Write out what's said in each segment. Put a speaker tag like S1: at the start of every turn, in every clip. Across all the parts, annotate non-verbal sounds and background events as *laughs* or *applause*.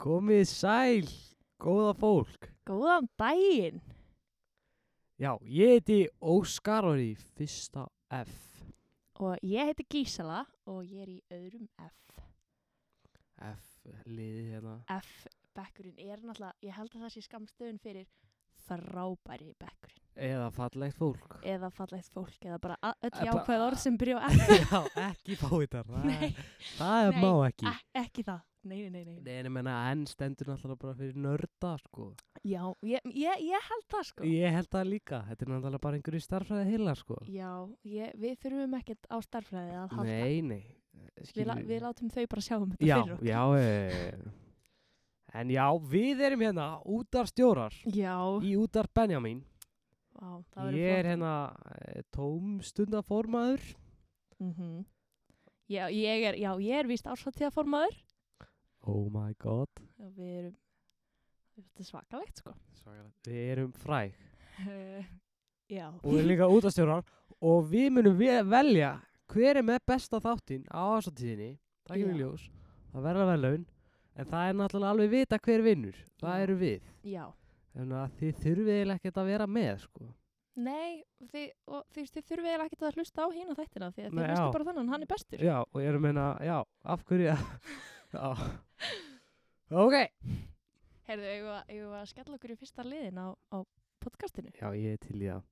S1: Komið sæl, góða fólk.
S2: Góðan daginn.
S1: Já, ég heiti Óskar og er í fyrsta F.
S2: Og ég heiti Gísala og ég er í öðrum F.
S1: F-liði hérna.
S2: F-bekkurinn er náttúrulega, ég held að það sé skamstöðun fyrir frábæri bekkurinn.
S1: Eða fallegt
S2: *laughs*
S1: fólk.
S2: Eða fallegt fólk, eða bara a- öll
S1: Eh, bara-
S2: jákvæð orð sem byrja
S1: *laughs*
S2: á F.
S1: Já, ekki fáiðar.
S2: Nei,
S1: Það er
S2: nei,
S1: má ekki.
S2: e ekki það. Nei, nei, nei, nei.
S1: Nei, en ég menna, enn stendur náttúrulega bara fyrir nörda, sko.
S2: Já, ég, ég, ég held það sko.
S1: Ég held það líka. Þetta er náttúrulega bara einhverju starfræði heila, sko.
S2: Já, ég, við þurfum ekkert á starfræðið að halda.
S1: Nei, nei.
S2: Við, la,
S1: skilur-
S2: við látum þau bara sjá um þetta
S1: Já,
S2: fyrir okkur.
S1: já. E en já, við erum hérna útarstjórar
S2: Já,
S1: í útar Benjamin.
S2: á, það verður
S1: ég er
S2: flott.
S1: hérna eh, tómstundaformaður hérna-
S2: Mhm. Já, ég er, já, ég er víst ársáttíðaformaður.
S1: Oh my god
S2: Já, við erum Þetta er svakalegt sko
S1: Við erum fræg
S2: *laughs* Já
S1: og við erum líka útastjórar og við munum ve- velja hver er með besta þáttinn á ásatíðinni það kemur í
S2: Já.
S1: ljós, það verður að vera laun en það er náttúrulega alveg vita hver vinnur það
S2: Já.
S1: eru við
S2: Já
S1: þannig að þið þurfið eiginlega ekkert að vera með sko.
S2: Nei, þið, og þú veist, þið þurfið eiginlega ekkert að hlusta á hína þættina því að
S1: Nei,
S2: þið hlusta
S1: já.
S2: bara þannig, hann er bestur
S1: já, og ég er að meina, já, af hverju
S2: *laughs*
S1: já ok,
S2: Herðu, eigum við að- eigum við að skella okkur í fyrsta liðin á, á podcastinu
S1: já, ég er til í það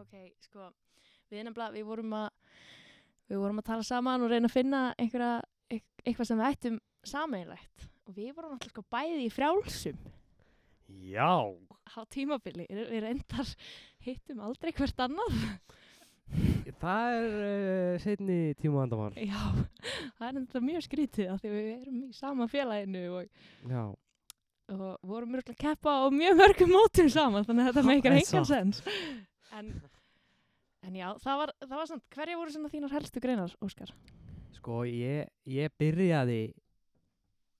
S2: Ok, sko, við nefnilega, við vorum að við vorum að tala saman og reyna að finna einhverja, eit- eitthvað sem við ættum sameinlegt og við vorum alltaf sko bæði í frjálsum
S1: já,
S2: á tímabili, við reyndar hittum aldrei hvert annað
S1: Það er uh, setni tíma andamál.
S2: Já, *laughs* það er enda mjög skrítið af því að við erum í sama félaginu og,
S1: Já.
S2: og vorum mjög að keppa á mjög mörgum mótum saman þannig að þetta meikar
S1: Það er
S2: engan sens en, en já, það var, það var samt hverja voru svona þínar helstu greinar, Óskar?
S1: Sko, ég, ég byrjaði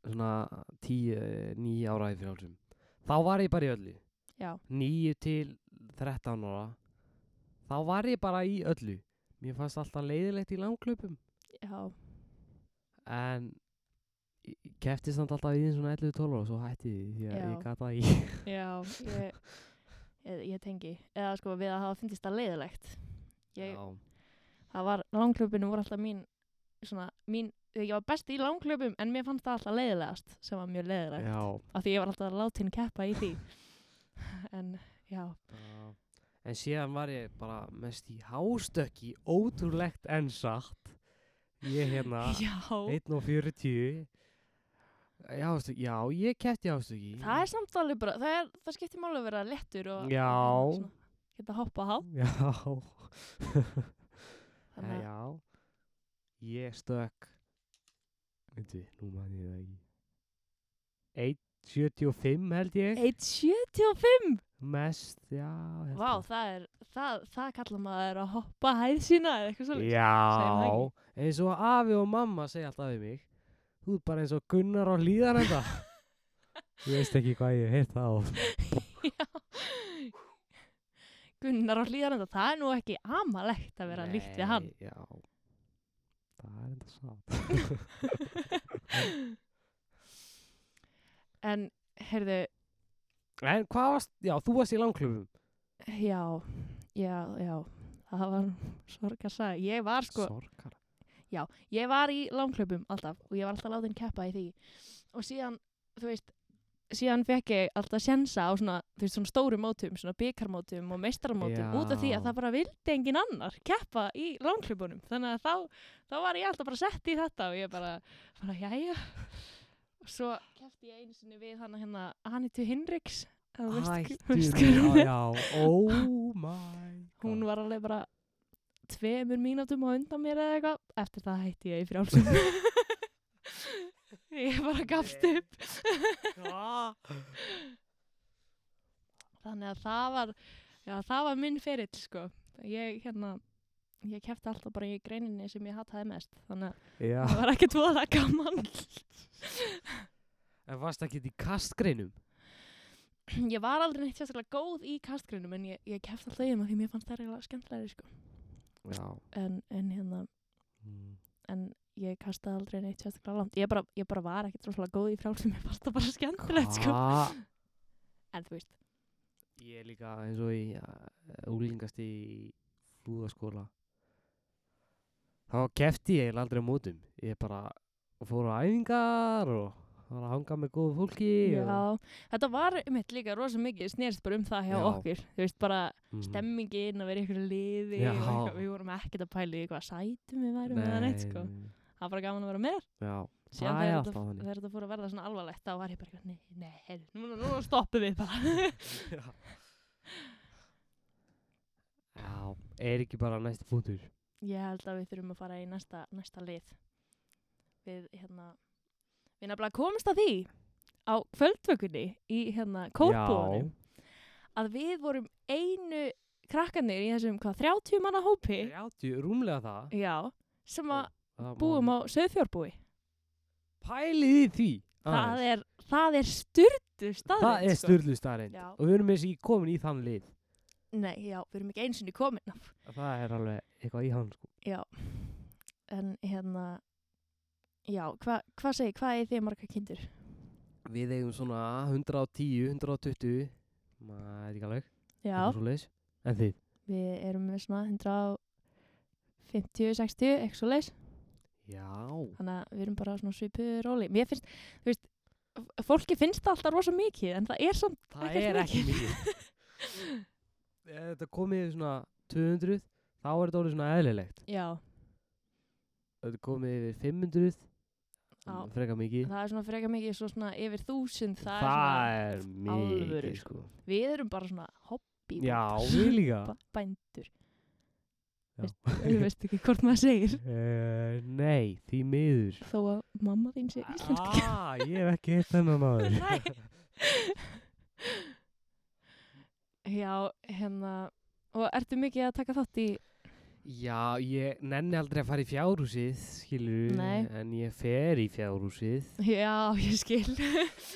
S1: svona 10, 9 ára í frjálsum. Þá var ég bara í öllu.
S2: Já,
S1: 9 til 13 ára. Þá var ég bara í öllu. Mér fannst alltaf leiðilegt í langklöpum.
S2: já,
S1: En ég kefti samt alltaf í því svona 11-12 ára og svo hætti ég því því að
S2: Já.
S1: ég gata í.
S2: já ég, ég, ég tengi eða sko við að hafa fyndist það leiðilegt *laughs* ég,
S1: Já.
S2: það var, langklöpinu voru alltaf mín svona, mín, ég var best í langklöpum en mér fannst það alltaf leiðilegast sem var mjög leiðilegt
S1: Já.
S2: af því ég var alltaf látin keppa í því *laughs* en já,
S1: Já. En síðan var ég bara mest í hástökki, ótrúlegt en satt. Ég hérna,
S2: *laughs* já
S1: 1.40. Í hástökki, já, ég kefti hástökki.
S2: það er samt alveg bara það, er, það skiptir máli að vera lettur og
S1: Já.
S2: og svona geta hoppa há
S1: *laughs* Já,
S2: þannig að
S1: já. Ég stök, veitu, nú man ég það ekki. 1.75 held ég.
S2: 1.75
S1: Mest, já. held
S2: Vá,
S1: það.
S2: það er, það, það kallar maður að hoppa hæð sína eða eitthvað svolítið Segjum það
S1: Já,
S2: ekki.
S1: eins og afi og mamma segja alltaf við mig Þú er bara eins og Gunnar á hlýðan enda
S2: *laughs*
S1: Ég veist ekki hvað ég heitt það á
S2: Gunnar á hlýðarenda, það er nú ekki amalegt að vera líkt við hann
S1: Já, það er enda satt
S2: *laughs* en, heyrðu,
S1: En hvað varst, já, þú varst í langklubum
S2: já já, já, það var sorg að sagði, ég var sko
S1: Sorgar
S2: ég var í langklöpum alltaf og ég var alltaf látin keppa í því og síðan, þú veist síðan fekk ég alltaf sjensa á svona, þú veist, svona stóru mótum, svona byggarmótum og meistarmótum
S1: Já.
S2: út af því að það bara vildi engin annar keppa í langklöpunum þannig að þá, þá var ég alltaf bara sett í þetta og ég bara, bara jæja og svo keppti ég einu sinni við hana hérna, Hanitu Hinriks þú veist hver- þú veist hver hún
S1: já,
S2: er.
S1: já, *laughs* oh my
S2: hún
S1: God.
S2: var alveg bara tveimur mínútum á undan mér eða eitthvað eftir það hætti ég í frjálsum *laughs* ég bara gafst
S1: Nei.
S2: upp
S1: Já.
S2: þannig að það var já, það var minn ferill sko ég hérna ég kefti alltaf bara í greininni sem ég hattaði mest þannig að
S1: Já,
S2: það var ekki tvoða það gaman
S1: en varst ekki í kastgreinum
S2: ég var aldrei neitt sérstaklega góð í kastgreinum en ég, ég kefti alltaf í þeim af því mér fannst það eiginlega skemmtilegri sko
S1: Já
S2: en, en hérna
S1: mm.
S2: en ég kastaði aldrei neitt sérstaklega langt ég bara, ég bara var ekkert rosalega góð í frjálsum ég fannst það bara skemmtilegt sko
S1: Ha?
S2: en þú veist,
S1: Ég er líka eins og í uh, úlingast í flúðaskóla þá kefti ég eiginlega aldrei á mótum ég bara fór á æfingar og var að hanga með góðu fólki og,
S2: já, þetta var um eitt líka rosa mikið, snerist bara um það hjá
S1: Já.
S2: okkur þú veist, bara
S1: Mhm.
S2: stemmingin að vera í ykkur liði
S1: Já.
S2: og eitthvað, við vorum ekkert að pæla í hvað sætum við værum eða neitt sko
S1: nei.
S2: það var bara gaman að vera með
S1: já,
S2: síðan
S1: það er
S2: þegar
S1: alltaf
S2: þetta-
S1: þannig
S2: þegar þetta fór að verða svona alvarlegt þá var ég bara, eitthvað, nei, nei, heyrðu, núna, núna stoppum við bara *laughs*
S1: Já. já, er ekki bara næsti punktur
S2: Ég held að við þurfum að fara í næsta, næsta lið. Við, hérna, við nefnilega komumst að því á kvöldvökunni í hérna kórbúðanum að við vorum einu krakkanir í þessum hvað, 30 manna hópi
S1: Já, 30, rúmlega það
S2: já, sem að
S1: Það má-
S2: búum á söðfjórbúi.
S1: Pælið í því
S2: Það
S1: aðeins.
S2: er, það er sko. styrdu staðið.
S1: Það er styrlu staðrind
S2: Já.
S1: og við erum eins og komin í þann lið
S2: Nei, já, við erum ekki einsinni komin af.
S1: það er alveg eitthvað í hann sko.
S2: Já, en hérna, já, hva- hvað segir, hvað er þið marga kindur?
S1: við eigum svona 110, 120 maður ekki alveg
S2: Já.
S1: eitthvað svoleiðis. en þið
S2: Við erum með svona 150, 60, eitthvað svo leis.
S1: já,
S2: Þannig að við erum bara á svona svipu róli. Mér finnst, þú veist, f- fólki finnst það alltaf rosa mikið, en það er samt,
S1: það
S2: Ekkert
S1: er ekki mikið
S2: *laughs*
S1: Ef þetta komið í svona 200 þá er þetta orðið svona eðlilegt
S2: já,
S1: Ef þetta komið yfir 500
S2: Já.
S1: freka mikið
S2: það er svona freka mikið svo svona yfir þúsund. Það, er
S1: það er
S2: alvöru,
S1: mikið sko.
S2: svona, við erum bara svona hobby
S1: já, við
S2: *laughs*
S1: líka
S2: bændur.
S1: Já.
S2: Veist, þú veist ekki hvort maður segir.
S1: uh, nei, því miður
S2: Þó að mamma þín sé *laughs* íslensk.
S1: Ah, ég hef ekki hitt þennan maður.
S2: *laughs* Nei. Já, hérna, og ertu mikið að taka þátt í,
S1: Já, ég nenni aldrei að fara í fjárhúsið, skilur,
S2: Nei.
S1: en ég fer í fjárhúsið.
S2: já, ég skil. *laughs*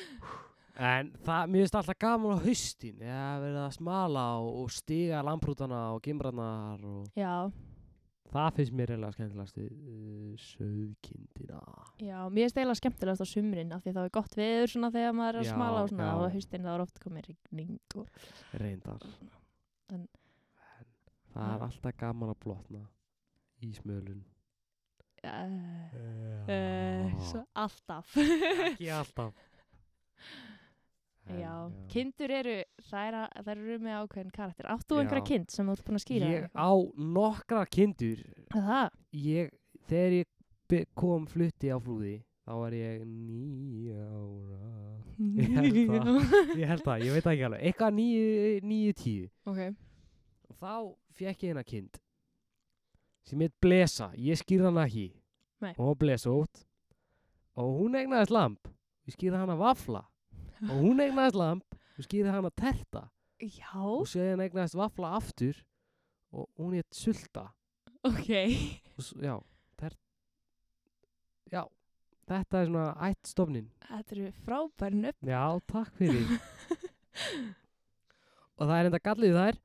S1: En það, mér finnst alltaf gaman á haustin, ég hef verið að smala og, og stiga lamprútana og gimbrannar og
S2: já, það
S1: það finnst mér reyðlega skemmtilegast við uh, söðkindina.
S2: Já, mér finnst eiginlega skemmtilegast á sumrin af því þá er gott veður svona þegar maður er að
S1: Já,
S2: smala og svona
S1: já.
S2: og á haustin þá er oft komið rigning og
S1: Reyndar.
S2: En-
S1: En það er
S2: Já.
S1: alltaf gaman að blotna í smölun.
S2: uh, uh,
S1: Uh,
S2: svo *laughs* alltaf
S1: ekki alltaf. En,
S2: Já, kindur eru þær, a- þær eru með ákveðin karakter Átt þú
S1: Já.
S2: einhverja kind sem þú ert búin að skýra?
S1: Ég á nokkra kindur
S2: Er
S1: *laughs*
S2: Það,
S1: ég, Þegar ég be- kom flutti á flúði þá var ég níu ára Ég held *laughs*
S2: *laughs*
S1: Ég held það, ég veit það ekki alveg Eitthvað níu, níu tíu
S2: Ok,
S1: og Þá fekk ég hérna kind sem heit Blesa, ég skýrði hana ekki
S2: Nei.
S1: og hún blesa út og hún eignaðist lamp ég skýrði hana vafla og hún eignaðist lamp og skýrði hana terta
S2: já,
S1: og séðan eignaðist vafla aftur og hún heit sulta
S2: ok
S1: Og s- já, ter... já þetta er svona ættstofnin
S2: Þetta eru frábær nöfn
S1: já, takk fyrir og það er enda gallið þær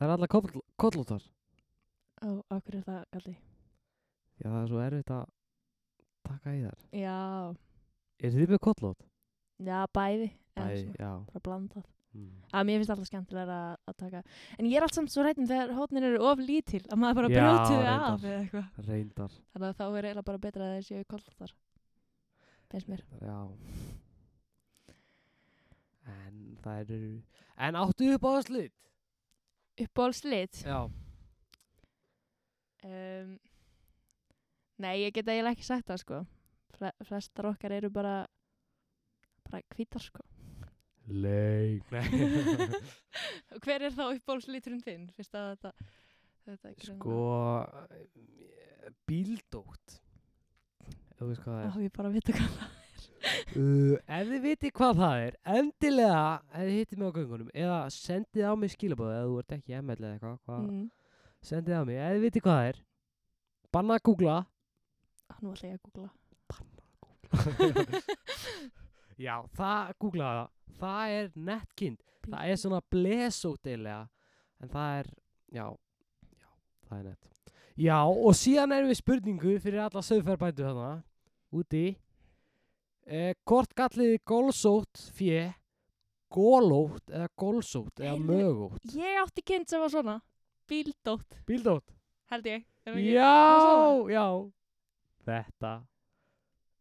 S1: það er allar koll- kollóttar
S2: Ó, okkur er það galdi
S1: já, það er svo erfitt að taka í þær
S2: Já,
S1: er þið með kollót?
S2: já, bæði eða
S1: Æ,
S2: svona,
S1: já
S2: Bara blandað
S1: mm.
S2: að mér finnst alltaf skemmtilega að, að taka en ég er allt samt svo rættin þegar hótnir eru of lítil að maður bara
S1: Já,
S2: brjóti þau
S1: reyndar.
S2: af eða eitthvað
S1: reyndar
S2: þannig að þá er eiginlega bara betra að þeir séu kollóttar finnst mér
S1: já en það eru en áttu upp á það slitt
S2: uppbólslit
S1: já,
S2: um, nei, ég get eiginlega ekki sagt það sko Fle flestar okkar eru bara bara hvítar
S1: *laughs*
S2: sko
S1: leik *laughs* nei
S2: og hver er þá uppbólsliturinn þinn fyrst að þetta, þetta er greinilega-
S1: Sko, eh, bíldótt. Ef Þú veist hvað það
S2: Á,
S1: er.
S2: ég bara að vita hvað
S1: *laughs* Uh, ef þið vitið hvað það er, endilega ef þið hittið mig á göngunum eða sendið á mig skilabóðu ef þú ert ekki ML eða eitthvað, hvað,
S2: mm,
S1: sendið á mig, ef þið vitið hvað það er, banna að googla.
S2: á, nú ætla ég að googla
S1: *laughs* Já, það, googla það, það er nettkind, það er svona blesótt eiginlega, en það er, já, já, það er nett. Já, og síðan erum við spurningu fyrir alla söðferðbændu þarna, úti. Eh, hvort galliði gólsótt fjö, gólótt eða gólsótt eða
S2: *laughs* Heyrðu.
S1: mögótt?
S2: Ég átti kind sem var svona Bíldótt,
S1: Bíldótt?
S2: held ég Er það ekki?
S1: Já, já. Þetta.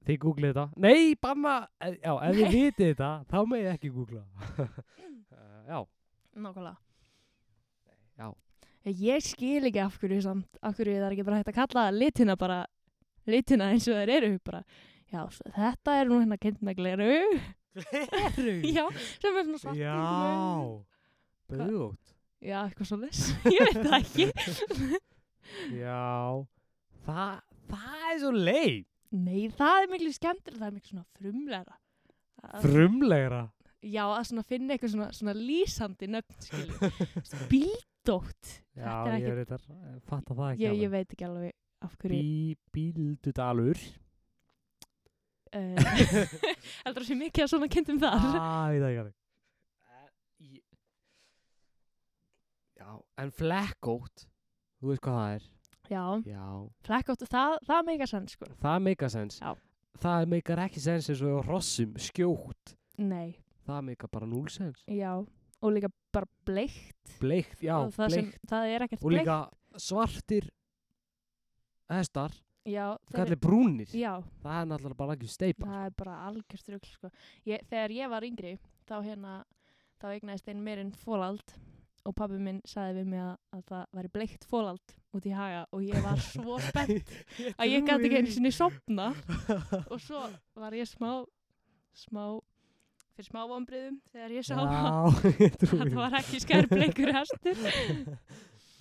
S1: Þið googlið þetta. Nei, banna, eh, já, ef
S2: *laughs*
S1: þið vitið þetta, þá megið ekki googla. *laughs* Eh,
S2: *laughs*
S1: já,
S2: Nákvæmlega
S1: Já.
S2: Ég skil ekki af hverju samt Af hverju það er ekki bara hægt að kalla litina bara Litina eins og þær eru bara Já, s- þetta er nú hérna kind með gleru
S1: Gleru?
S2: Já, *laughs* sem er svona svart í
S1: Já,
S2: kringum augun.
S1: bögótt.
S2: Já, eitthvað svo les *laughs* Ég veit það ekki
S1: Já, það, það er svo leið.
S2: Nei, það er miklu skemmtilega Það er miklu svona frumlega
S1: Frumlegra.
S2: Já, að svona finna eitthvað svona, svona lýsandi nöfn
S1: *laughs*
S2: skilur Bíldótt
S1: Já,
S2: Þetta er
S1: ég
S2: ekki-
S1: reyndar, eh, fatta það ekki
S2: ég, ég veit ekki alveg af hverju
S1: Bí, Bíldudalur.
S2: uh, *laughs*
S1: *laughs*
S2: Heldur það sé mikið að svona kindum þar
S1: Það Ah, veit það ekki alveg. Eh, Já, en flekkótt, þú veist hvað það er.
S2: Ah, *laughs* Já,
S1: Já,
S2: Flekkóttu, það, það meika sann sko.
S1: það meikar sens.
S2: Já.
S1: Það meikar ekki sens eins og á hrossum, skjótt.
S2: Nei,
S1: Það meikar bara núl sens.
S2: já, og líka bara bleikt.
S1: Bleikt, já,
S2: Og það, sem,
S1: bleikt.
S2: það er ekkert
S1: Og
S2: bleikt.
S1: líka svartir hestar,
S2: Já, þeir-
S1: kallir brúnir.
S2: já,
S1: Það er náttúrulega bara ekki steipa.
S2: það er bara algjörst rugl sko. Ég, þegar ég var yngri, þá hérna, þá eignaðist einn meirinn fólald og pabbi minn sagði við mig að, að það væri bleikt fólald út í haga og ég var
S1: *laughs*
S2: svo spennt að ég gæti ekki einu sinni sopna og svo var ég smá, smá, fyrir smá vombriðum þegar ég sá að
S1: Já, *laughs* ég trúi
S2: það
S1: því.
S2: var ekki skærbleikur hestur.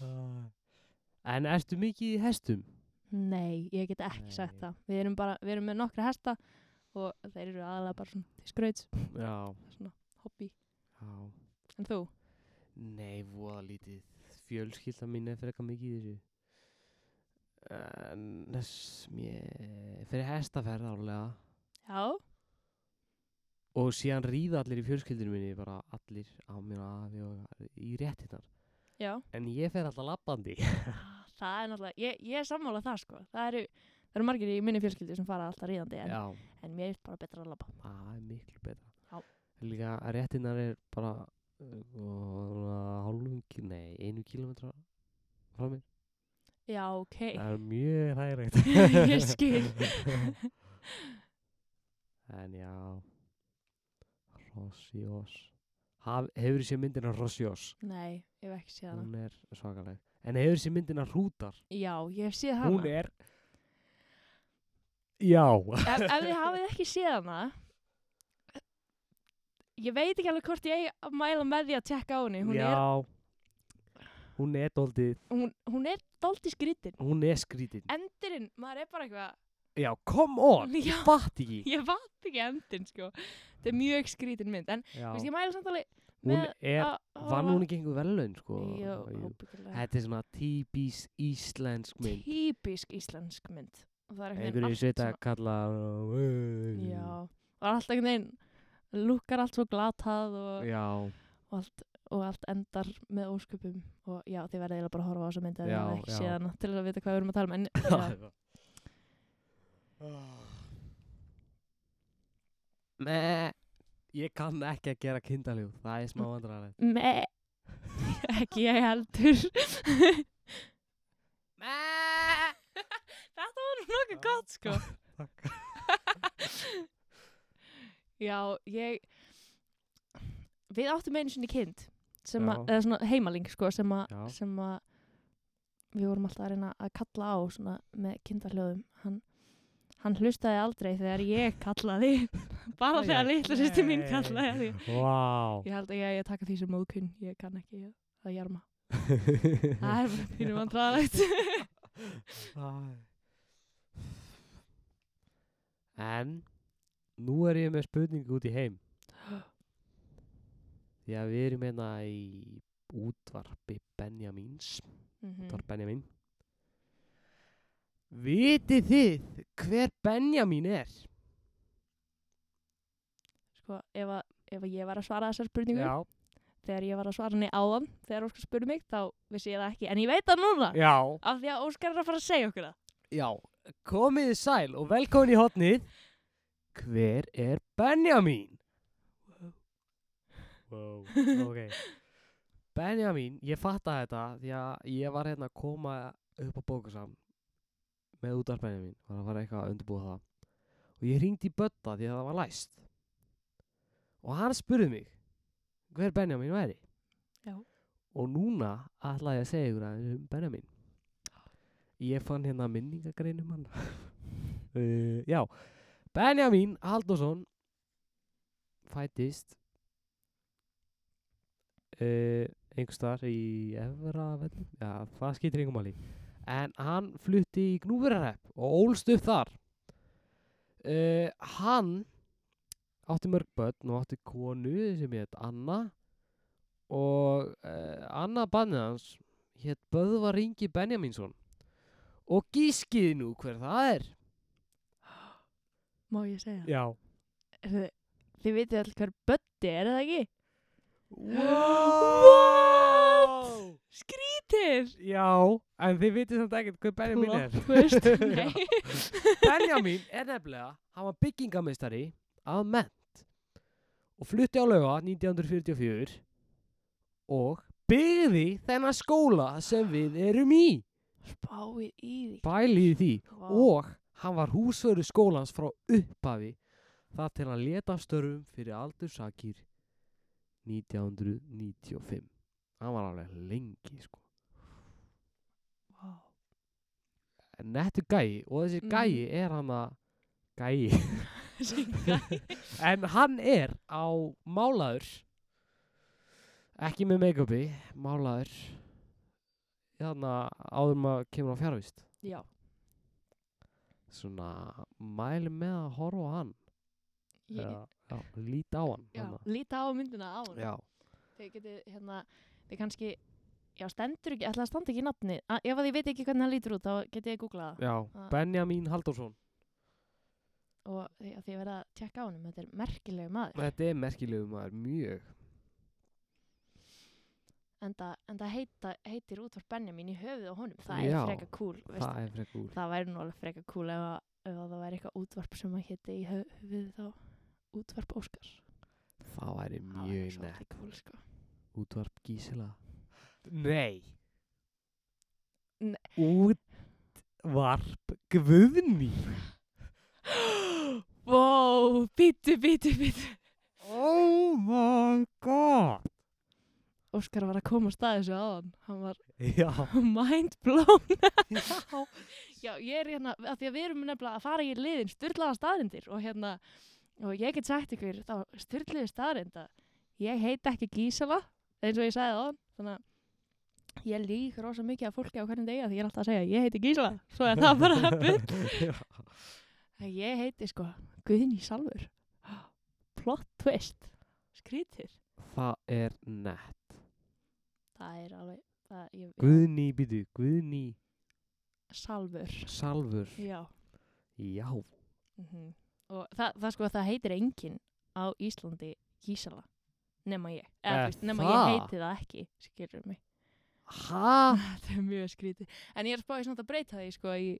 S1: Ah. En ertu mikið í hestum?
S2: Nei, ég get ekki
S1: Nei.
S2: sagt það. Við erum bara, við erum með nokkra hesta og þeir eru aðalega bara svona til skrauts,
S1: Já,
S2: svona hobby.
S1: já.
S2: En þú?
S1: Nei, voða lítið. Fjölskylda mín er frekar mikið í þessu. En þess, mér fyrir hestaferð álega.
S2: Já.
S1: Og síðan ríða allir í fjölskyldinu minni, bara allir á mér afi og í réttinnar.
S2: Já.
S1: En ég fer alltaf labbandi.
S2: *laughs* Það er náttúrulega, ég, ég er sammála það sko. Það eru, það eru margir í minni fjölskyldu sem fara alltaf ríðandi en,
S1: Já.
S2: en mér er bara betra að labba.
S1: Það er miklu betra.
S2: Já.
S1: Líka að réttinnar er bara uh, hálfum, ki- nei, einu kílometra frá mér.
S2: Já, ok.
S1: Það er mjög hægilegt.
S2: *laughs* ég skil.
S1: *laughs* en já, Rossiós. Hefur séð myndina Rossiós?
S2: Nei, ég hef ekki séð hana.
S1: Hún er svakaleg. En hefur séð myndina Hrútar?
S2: Já, ég hef séð hana.
S1: Hún er... Já.
S2: ef, ef þið hafið ekki séð hana ég veit ekki alveg hvort ég eigi að mæla með því að tekka á henni hún
S1: já.
S2: er,
S1: Hún er doldið,
S2: hún, hún er dálítið skrítin
S1: hún er skrítin.
S2: endurinn, maður er bara eitthvað
S1: Já, come on,
S2: *laughs* Já.
S1: ég fatt ekki.
S2: ég vat ekki endurinn sko þetta er mjög skrítin mynd en
S1: Já,
S2: veist, ég mæla samt alveg
S1: hún
S2: með
S1: er,
S2: að
S1: vann hún ekki einhver velun, sko.
S2: Jó,
S1: Jú.
S2: óbyggilega
S1: Þetta er svona típís íslensk mynd.
S2: típisk íslensk mynd og það er einhvern
S1: Einhverju
S2: veginn
S1: sveit að
S2: allt
S1: kalla
S2: svona- já, og allt einhvern veginn lukkar allt svo glatað og
S1: Já,
S2: og allt, og allt endar með ósköpum og já, þið verðið eiginlega bara að horfa á þessa mynd að þið
S1: Já,
S2: verðið ekki
S1: já.
S2: séð hana til þess að vita hvað við erum að
S1: *laughs*
S2: tala um en,
S1: Meh. Ég kann ekki að gera kindaljú Það er smá vandrarlega
S2: já, me, ekki ég
S1: *laughs*
S2: heldur *laughs* þetta var nú nokkuð gott sko
S1: Ah,
S2: *laughs* já, ég við áttum einu sinni kind sem
S1: Já.
S2: að, eða svona heimaling sko sem að,
S1: Já.
S2: sem að við vorum alltaf að reyna að kalla á svona með kindarhljóðum hann, hann hlustaði aldrei þegar ég kallaði *laughs* bara
S1: Æ, æ,
S2: þegar litla sýsti mín
S1: nei.
S2: kallaði að því
S1: Vá
S2: Ég held að ég, ég taka því sem móðkunn, ég kann ekki ég- að
S1: *laughs*
S2: jarma. Það er bara pínu vandræðalegt.
S1: En Nú er ég með spurningu út í heim Því að við erum hérna í útvarpi Benjamins
S2: Mm. *laughs*
S1: Útvarp Benjamin Vitið þið hver Benjamin er?
S2: Sko, ef að, ef að ég var að svara þessar spurningu,
S1: Já,
S2: þegar ég var að svara henni áðan þegar Óskar spurði mig þá vissi ég það ekki en ég veit það núna
S1: Já,
S2: af því að Óskar er að fara að segja okkur það
S1: já, komið þið sæl og velkomin í hotnið Hver er Benjamin? *laughs* Wow, ok Benjamin, ég fatt að þetta því að ég var hérna að koma upp á bókasam með út af Benjamin var að fara eitthvað að undirbúa það og ég hringdi í Bötta því að það var læst og hann spurði mig hver Benjamin væri
S2: Já.
S1: og núna ætlaði ég að segja ykkur aðeins um Benjamin ég fann hérna minningagreinum *laughs* hann uh, já Benjamin Haldursson fættist uh, einhvers þar í Evra já, það skýtir engum máli en hann flutti í Gnúverarhepp og ólst upp þar uh, hann átti mörg börn og átti konu sem hétt Anna og uh, Anna bannið hans hétt Böðvar Ingi Benjaminsson og gískið nú hver það er
S2: Má ég segja?
S1: já
S2: Þið, þið vitið all hver bötti er það ekki?
S1: What?
S2: Skrítir!
S1: Já, en þið vitið samt ekkert hvað Benjamin *laughs* er.
S2: Plot twist,
S1: Já.
S2: nei.
S1: *laughs* Benjamin er nefnilega, hann var byggingameistari af ment og flutti á lauga 1944 og byggði þennan skóla sem við erum í.
S2: Spáið í því.
S1: Bæliði því
S2: Vá.
S1: og hann var húsverðu skólans frá upphafi þar til hann leta af störfum fyrir aldursakir 1995 hann var alveg lengi sko
S2: Vá.
S1: En nettu gæi og þessi
S2: Mhm.
S1: gæi er hann að gæi *laughs*
S2: Þessi *laughs* gæ-
S1: en hann er á málaður ekki með make-upi málaður þannig að áður en maður kemur á fjárvist
S2: Já,
S1: svona mæli með að horfa á hann
S2: ég,
S1: já, já, líti á hann
S2: já,
S1: þarna.
S2: líta á myndina á hann.
S1: já.
S2: Þið getið, hérna, þið kannski, já, stendur ekki, ætla að standa ekki í nafni. A, ef að ég veit ekki hvernig hann lítur út, þá getið ég googlað það.
S1: Já,
S2: Ah.
S1: Benjamin Halldórsson
S2: Og því að þið verða að tjekka á hann, þetta er merkilegu maður.
S1: Þetta er merkilegu maður, mjög
S2: En það, en það heita, heitir útvarp Benjamin í höfuð á honum. Það
S1: Já.
S2: er freka cool, veist
S1: Það er frekk úr
S2: það væri nú alveg freka cool ef, að, ef að það væri eitthvað útvarp sem að héti í hö- höfuð þá útvarp Óskar
S1: Það væri
S2: það væri
S1: mjög nett
S2: svolítið cool sko *gasps*
S1: Útvarp Gísela Nei
S2: Ne-
S1: Útvarp Guðni
S2: Vó, bítu, bítu, bítu
S1: Oh my god
S2: Óskar var að koma að staði þessu áðan hann var
S1: Já,
S2: mind blown
S1: já.
S2: já, ég er hérna, af því að við erum nefnilega að fara í liðin styrlaða staðrindir og hérna, og ég get sagt ykkur þá styrliði staðrinda ég heiti ekki Gísala, eins og ég sagði það þannig að ég lík rosa mikið að fólki á hvernig degi af því ég er alltaf að segja ég heiti Gísala, svo er það bara bull
S1: Já.
S2: Nei, Ég heiti sko Guðný Salfur. Plot twist. Skrítir.
S1: Það er nett
S2: Það er alveg, það, ég,
S1: Guðni, býtu, Guðni
S2: Salfur.
S1: Salfur
S2: Já.
S1: Já,
S2: Mm Og það, það sko, það heitir enginn á Íslandi Gísala. Nema ég.
S1: Eh,
S2: Eða, fyrst, nema
S1: það?
S2: ég heiti það ekki, skilur mig. *laughs*
S1: ha?
S2: Þetta er mjög skrítið. En ég er spáðið svona að breyta því, sko, í,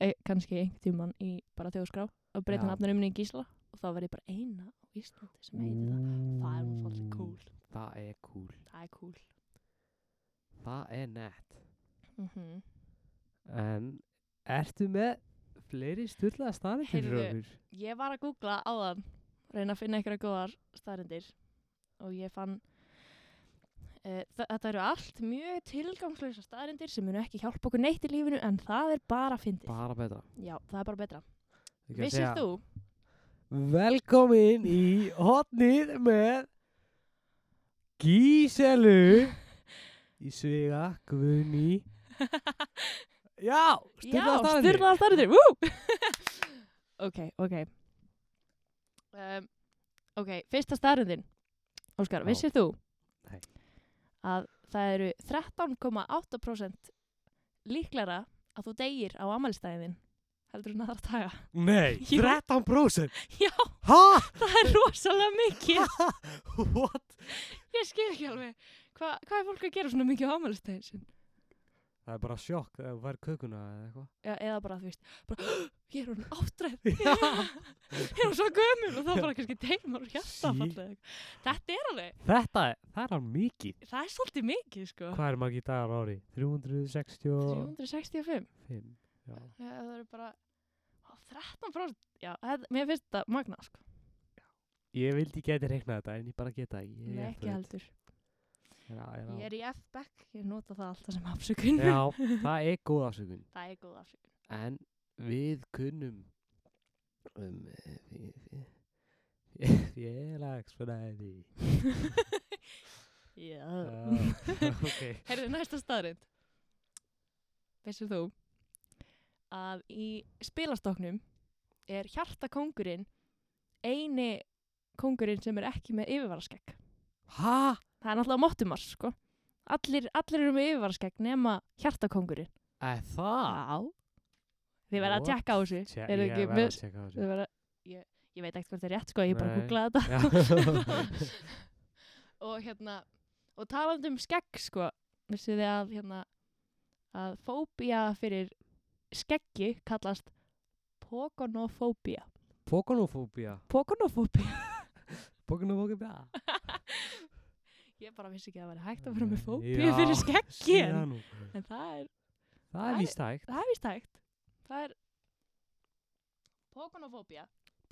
S2: e, kannski einhvern tímann í bara þjóðskrá og breyta
S1: Já.
S2: nafnarinn minni í Gísala og þá verði ég bara eina á Íslandi sem heitir
S1: Mm.
S2: það. Það er nú svolítið cool.
S1: Það er cool
S2: Það er cool.
S1: Það er nett
S2: Mm
S1: Mhm. En ertu með fleiri styrlaða staðir fyrir
S2: Heyrðu,
S1: okkur?
S2: Ég var að googla áðan, reyna að finna einhverja góðar staðrendir og ég fann uh, þetta eru allt mjög tilgangslösa staðrendir sem munu ekki hjálpa okkur neitt í lífinu en það er bara fyndið.
S1: Bara betra.
S2: Já, það er bara betra.
S1: Ég skal
S2: Vissir
S1: segja,
S2: þú?
S1: Velkomin í hotnið með
S2: *laughs*
S1: Gíselu í svega Guðni. Já, styrlaða
S2: Já,
S1: staðir.
S2: styrlaða staðrendir. Woo! *laughs* ok, ok. Um, ok, fyrsta staðrendin. Óskar,
S1: Já.
S2: vissir þú
S1: Nei.
S2: að það eru 13,8% líklara að þú deyir á amælstæðin heldur en aðra daga.
S1: Nei,
S2: Jú.
S1: 13%.
S2: *laughs* Já,
S1: Ha?
S2: *laughs* það er rosalega mikið.
S1: What?
S2: Ég skil ekki alveg. Hva, hvað er fólk að gera svona mikið á ámælistegin sinn?
S1: Það er bara sjokk þegar þú fær kökuna eða eitthvað.
S2: Já, E, eða bara, þú veist, bara, *gasps* ég er hún áttræð. ég er hún svo gömul og þá bara kannski teimur og hjarta
S1: Sí.
S2: fallið. Þetta er alveg,
S1: *laughs* Þetta, er- það er alveg mikið.
S2: það er svolítið mikið, sko.
S1: Hvað er margir dagar á ári? 365.
S2: 365.
S1: Já.
S2: Já, það eru bara, á 13%. Já, það, mér finnst þetta magna, sko.
S1: Ég vildi geti reikna þetta en ég bara geta ekki. Ég
S2: Nei,
S1: er
S2: ekki
S1: afraid.
S2: heldur.
S1: Já, já.
S2: Ég er í F-back, ég nota það alltaf
S1: *laughs*
S2: sem afsökun. *laughs*
S1: Já, það er góð afsökun.
S2: Það er góð afsökun.
S1: En við kunnum um eh, fé- fé- *laughs* félagsfræði. *laughs*
S2: *laughs* Já. *laughs*
S1: Já, ok.
S2: Herðu, næsta staðrind. Vissir þú að í spilastoknum er hjartakóngurinn eini kóngurinn sem er ekki með yfirvaraskegg.
S1: Hæ?
S2: Það er náttúrulega móttumars, sko. Allir, allir eru með yfirvaraskegg nema hjartakóngurinn.
S1: Er það?
S2: Já. Þið verða að
S1: What?
S2: tjekka á þessu.
S1: Tjá,
S2: Eru
S1: ég
S2: ekki
S1: verð að
S2: með-
S1: tjekka á
S2: Þið
S1: þessu.
S2: verða, ég, ég veit ekkert hvort það er rétt, sko, ég bara
S1: Nei.
S2: googlaði
S1: *laughs*
S2: þetta.
S1: Já.
S2: *laughs* og hérna og talandi um skegg sko vissu þið að hérna að fóbía fyrir skeggi kallast pokonofóbía
S1: Pokonofóbía.
S2: pokonofóbía
S1: Pokonofóbía.
S2: ég bara vissi ekki að það væri hægt að vera með fóbíu fyrir skeggi
S1: Já,
S2: en,
S1: nú.
S2: en það er
S1: Það
S2: Það
S1: er
S2: er-
S1: víst hægt.
S2: það er víst hægt það er pokonofóbía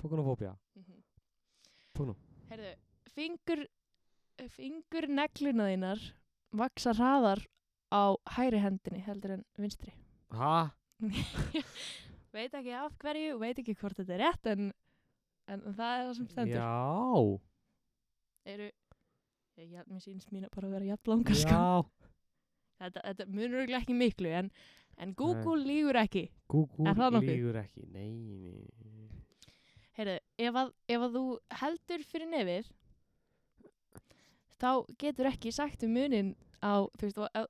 S1: Pokonofóbía.
S2: mm -hmm.
S1: Pokono.
S2: heyrðu fingur fingur negluna þínar vaksa hraðar á hæri hendinni heldur en vinstri
S1: Hæ?
S2: veit ekki af hverju, veit ekki hvort þetta er rétt en, en það er það sem stendur
S1: Já.
S2: eru, ég, ég, mér sýnst mín að bara vera jafn langa sko
S1: Já.
S2: þetta, þetta munur örugglega ekki miklu en, en Google lígur ekki Er það
S1: Google
S2: nokkuð?
S1: lígur ekki. Nei, nei. nei.
S2: Heyrðu, ef, að, ef að þú heldur fyrir nefið þá getur ekki sagt um munin á, þú veist, á,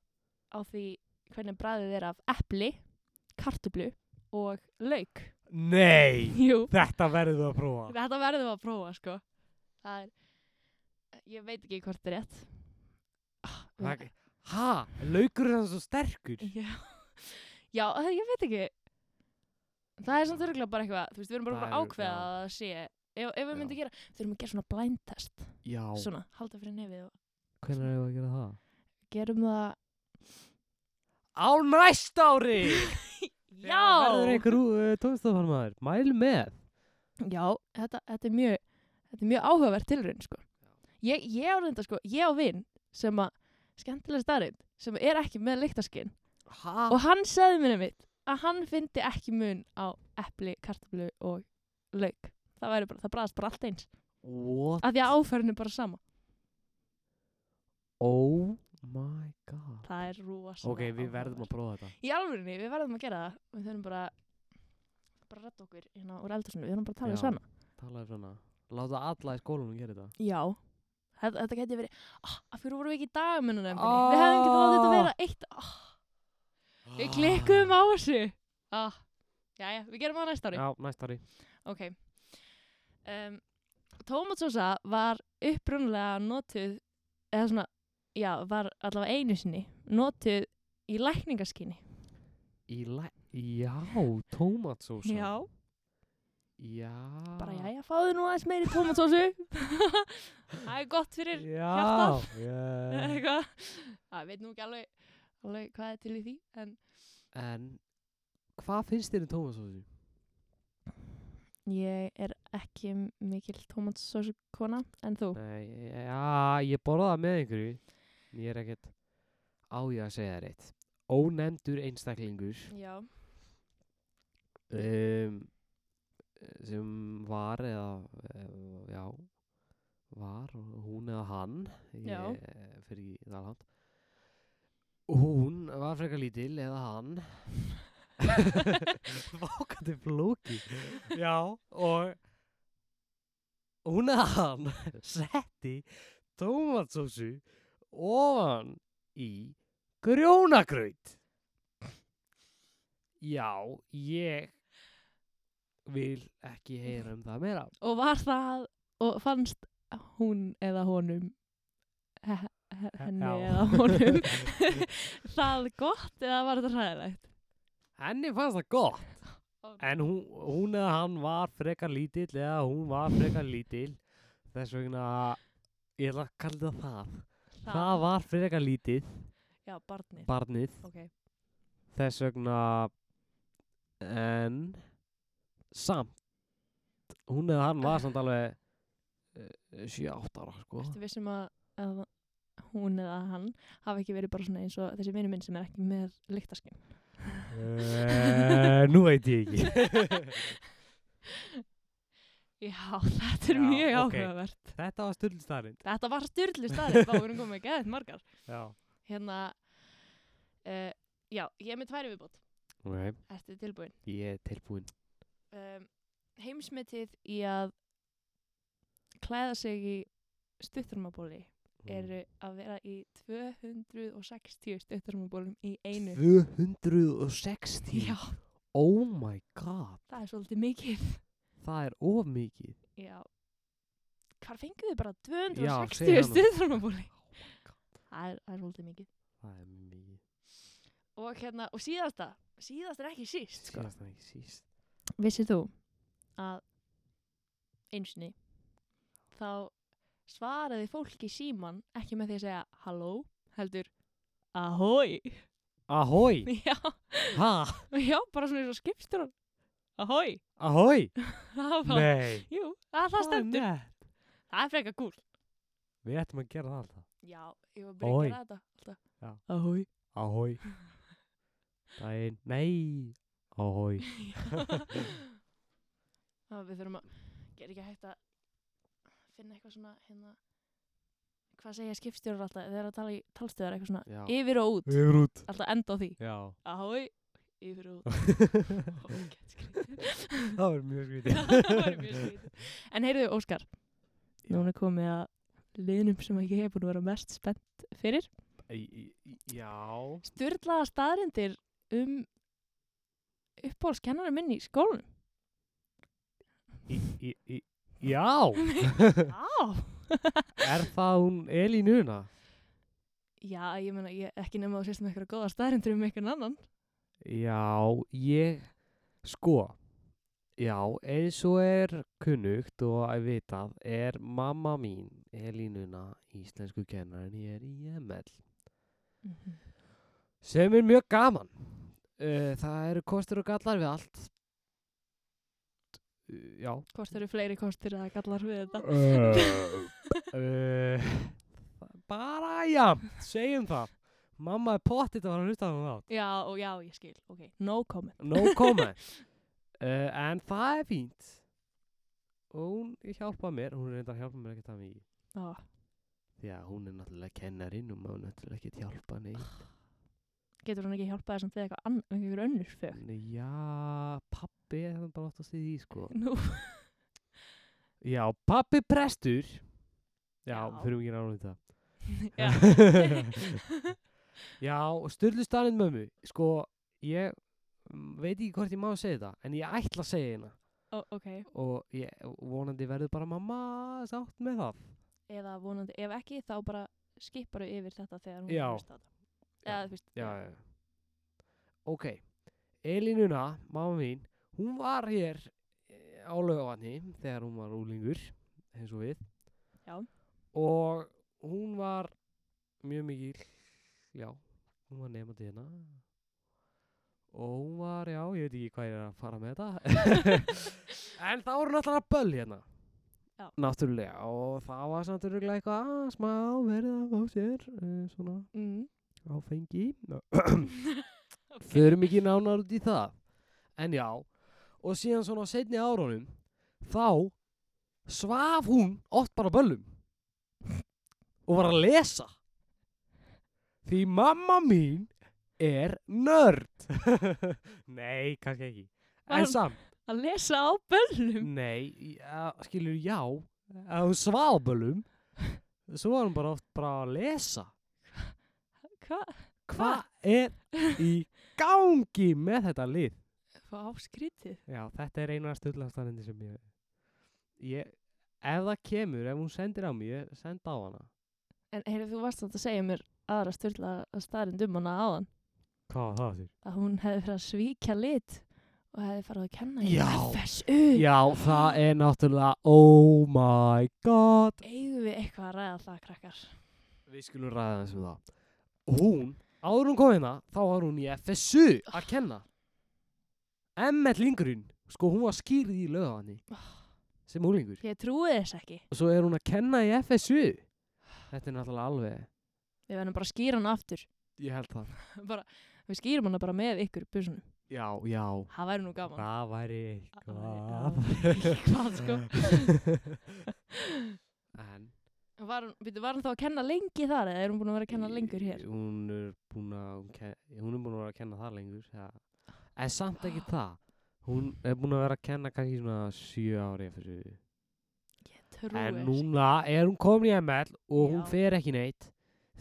S2: á því hvernig bræðið er af epli kartublu og lauk
S1: Nei!
S2: Jú
S1: Þetta verður þú að prófa.
S2: Þetta verðum við að prófa, sko. Það er, ég veit ekki hvort er rétt. Ah,
S1: Það-
S2: við-
S1: Ha? Laukur er hann svo sterkur?
S2: Já, *laughs* já það- ég veit ekki. Það er samt örgulega bara eitthvað, þú veist, við erum bara
S1: Það
S2: að
S1: er-
S2: ákveða
S1: já.
S2: að það sé, ef, ef við
S1: Já.
S2: myndum gera, við erum að gera svona blind test,
S1: Já.
S2: svona, halda fyrir nefið og
S1: Hvernig er það að gera það?
S2: gerum það.
S1: Á næst ári! Verður
S2: *laughs* Já,
S1: einhver uh, tónstofarmaður. Mæl með.
S2: já þetta, þetta, er mjög, þetta er mjög áhugaverð tilraun, sko. Ég, ég á reynda, sko, ég á vinn sem að, skemmtilega starrið, sem er ekki með lyktaskinn,
S1: Ha?
S2: og hann sagði mér einmitt að hann fyndi ekki mun á epli, kartablu og lauk það væri bara, það bræðast bara allt eins
S1: What?
S2: af því að áferðin er bara sama
S1: Oh my god.
S2: það er rosa
S1: Ok, við verðum að prófa þetta.
S2: í alvörinni, við verðum að gera það við þurfum bara bara að redda okkur hérna úr eldursunum, við þurfum bara að tala um
S1: Já.
S2: svona
S1: Talaðu svona. Láta alla í skólanum gera þetta.
S2: já, þetta, þetta geti verið ah, af hverju vorum við ekki í dagamunum við hefum ekki látið þetta vera eitt ah,
S1: Ah.
S2: við klikkuðum á þessu ah, jæja, við gerum það næsta ári
S1: Já, næst ári.
S2: Ok. Um, Tómatsósa var upprunlega notuð, eða svona, já, var allavega einu sinni, notuð í lækningaskinni.
S1: Í læ... Já, tómatsósa. Já.
S2: Bara, já, já, fáðu nú aðeins meiri tómatsósu. það er gott fyrir
S1: Já.
S2: hjartað.
S1: yeah.
S2: *laughs*
S1: *laughs*
S2: eitthvað. Það veit nú ekki alveg, alveg hvað er til í því, en
S1: En hvað finnst þér um tómatsósu?
S2: ég er ekki mikil tómatsósu kona, en þú?
S1: Nei, já, ég borða það með einhverju en Ég er ekkert á ég að segja það reitt Ónefndur einstaklingur
S2: Já.
S1: um, sem var eða eh, já var, hún eða hann ég
S2: Já.
S1: eh, fer ekki það langt hún var frekar lítil eða *laughs* hann vákandi flóki já og hún eða hann setti tómatsósu ofan í grjónagraut já ég vil ekki heyra um það meira
S2: Og var það, og fannst hún eða honum he- he- henni
S1: Já.
S2: eða
S1: *laughs*
S2: honum það gott eða var þetta hræðilegt?
S1: Henni fannst það gott
S2: Ó.
S1: En hún, hún eða hann var frekar lítill eða hún var frekar lítill Þess vegna ég ætla að kalla það það Það var frekar lítið
S2: Já, barnið.
S1: barnið
S2: ok.
S1: þess vegna en samt hún eða hann var samt alveg 7-8 ára sko
S2: Ertu vissum að, að hún eða hann hafi ekki verið bara svona eins og þessi vinnu minn sem er ekki með lyktaskinn.
S1: Eh, Nú veit ég ekki *laughs*
S2: *laughs* Já, þetta er
S1: Já,
S2: mjög
S1: ok.
S2: áhugavert.
S1: Þetta var stundstarind
S2: Þetta var styrlu staðið, þá erum komið geðið margar.
S1: Já
S2: Hérna, uh, já, ég er með tværi viðbót.
S1: Ok,
S2: Ertu tilbúin?
S1: ég er tilbúinn
S2: Um, heimsmetið í að klæða sig í stuttarmabóli
S1: Mm.
S2: eru að vera í 260 stuttarmabólum í einu.
S1: 260
S2: Já,
S1: Oh my god
S2: það er svolítið mikið.
S1: Það er of mikið
S2: Já. Hvar fenguð þið bara
S1: segðu
S2: 260
S1: það nú.
S2: stuðframabóli? Það er, það er svolítið mikið.
S1: Það er mikið
S2: Og hérna, og síðasta, síðast er ekki síst, sko.
S1: Skast það ekki síst
S2: Vissið þú að einsinni þá svaraði fólk í síman ekki með því að segja halló, heldur ahoi. *laughs*
S1: Ahoj
S2: Já,
S1: Ha
S2: já, bara svona eins og skipstur hann. Ahoi. *laughs*
S1: Ahoj
S2: Það var bara,
S1: Nei
S2: jú, að það stendur.
S1: nett.
S2: Það er frekar gúl.
S1: Við ættum að gera það alltaf.
S2: Já, ég var bara að
S1: Ahoj.
S2: gera þetta
S1: *laughs*
S2: alltaf.
S1: Já.
S2: Ahoi. *laughs*
S1: Ahoj. Dæin. Nei. Ahoj.
S2: Já, við þurfum að gera ekki hægt að finna eitthvað svona hérna hvað segja skipstjórar alltaf þeir eru að tala í talstöðar eitthvað svona
S1: Já.
S2: yfir og út,
S1: Við erum út.
S2: alltaf enda á því *laughs*
S1: Já.
S2: ahoi, yfir
S1: *laughs*
S2: og út Ógeð skrítið.
S1: það var mjög skrítið.
S2: Það væri
S1: *laughs*
S2: mjög skrítið. en heyrðu Óskar núna er komið að liðnum sem ég hef búin að vera mest spennt fyrir
S1: Já.
S2: styrlaða staðrindir um uppbólskennari minn í skólanum
S1: Í, í, í,
S2: *laughs*
S1: já.
S2: á
S1: er það hún Elínuna?
S2: *laughs* Já, ég meina, ég ekki nema að sést með eitthvað góða staðrindur um einhvern annan.
S1: Já, ég, sko, já, eins og er kunnugt og að vitað er mamma mín, Elínuna, íslensku kennarinn, ég er í ML. Mhm. sem er mjög gaman uh, það eru kostur og gallar við allt uh, já
S2: Hvort eru fleiri kostir að gallar við þetta?
S1: *laughs*
S2: *laughs*
S1: uh, bara já segjum það mamma er pottitt að fara að hlusta á það
S2: Já, og já, ég skil, ok. No comment.
S1: no comment uh, en það er fínt og hún hjálpað mér hún er reyndar að hjálpa mér ekkert að mikið
S2: Já,
S1: því að hún er náttúrulega kennarinn og maður náttúrulega ekkert hjálpa neitt
S2: getur hann ekki hjálpað þessum þegar eitthvað annar, einhver önnur *laughs* fög?
S1: Nei, já, pappi er þannig bara átt að segja því sko
S2: *laughs* Nú,
S1: Já, pappi prestur Já,
S2: Já.
S1: við þurfum ekki náttúrulega þetta
S2: já.
S1: Já, styrlu stanninn mömmu Sko, ég mm, veit ekki hvort ég má segja þetta En ég ætla að segja hérna
S2: Ó, ok,
S1: Og ég, vonandi verður bara mamma sátt með það
S2: eða vonandi, ef ekki, þá bara skiparu yfir þetta þegar hún
S1: Já.
S2: hlusta á þetta. Eða, þú veist,
S1: Já, já, já Ok, Elínuna, mamma mín Hún var hér eh, á laugavatni Þegar hún var úlingur Eins og við
S2: Já.
S1: Og hún var mjög mikil Já, hún var nefandi hérna Og hún var, já, ég veit ekki hvað ég er að fara með þetta *laughs* En þá voru náttúrulega böll hérna
S2: Já.
S1: Náttúrulega Og það var samt örugglega eitthvað smá verið að fá sér eh, Svona
S2: Mm.
S1: áfengi *coughs* Förum ekki nánar út í það En já Og síðan svona á seinni árunum Þá svaf hún oft bara á böllum Og var að lesa Því mamma mín er nörd *laughs* Nei, kannski ekki
S2: Var
S1: En
S2: hún-
S1: samt,
S2: Að lesa á
S1: Mm.
S2: böllum.
S1: nei, ja, skilur já Að hún svaf á böllum Svo var hún bara oft bara að lesa
S2: Hvað?
S1: Hvað er í gangi með þetta lið?
S2: Hvað áskrítið?
S1: Já, þetta er eina stuðlastanindi sem ég, ég... Ef það kemur, ef hún sendir á mig, ég senda á hana.
S2: En heyrðu, þú varst samt að segja mér aðra styrla að staðrind um hana áðan
S1: Hvað var það þér?
S2: að hún hefði fyrir að svíkja lit og hefði farið að kenna í
S1: Já.
S2: FSU
S1: Já, það er náttúrulega, oh my god
S2: Eigum við eitthvað að ræða það, krakkar?
S1: Við skulum ræða þess um það Hún, áður hún kom hérna, þá var hún í FSU að kenna Emmett Lindgren, sko hún var skýrð í löðavanni sem úlingur
S2: Ég trúi þess ekki.
S1: og svo er hún að kenna í FSU Þetta er náttúrulega alveg,
S2: Við verðum bara að skýra hana aftur. *laughs*
S1: ég held það
S2: bara, við skýrum hana bara með ykkur í busunum.
S1: Já, já,
S2: Það væri nú gaman.
S1: það væri
S2: Það
S1: eitthvað
S2: væri Hvað sko?
S1: *laughs* En
S2: Var, hún- bíddu, var hann þá að kenna lengi þar eða er hún búin að vera að kenna lengur hér?
S1: Hún er búin að, hún ke- hún er búin að vera að kenna það lengur ja. En samt
S2: *gasps*
S1: ekki það Hún er búin að vera að kenna kannski svona sjö ári fyrir.
S2: Ég trúi
S1: En
S2: þess.
S1: núna er hún komin í ML og hún
S2: Já.
S1: fer ekki neitt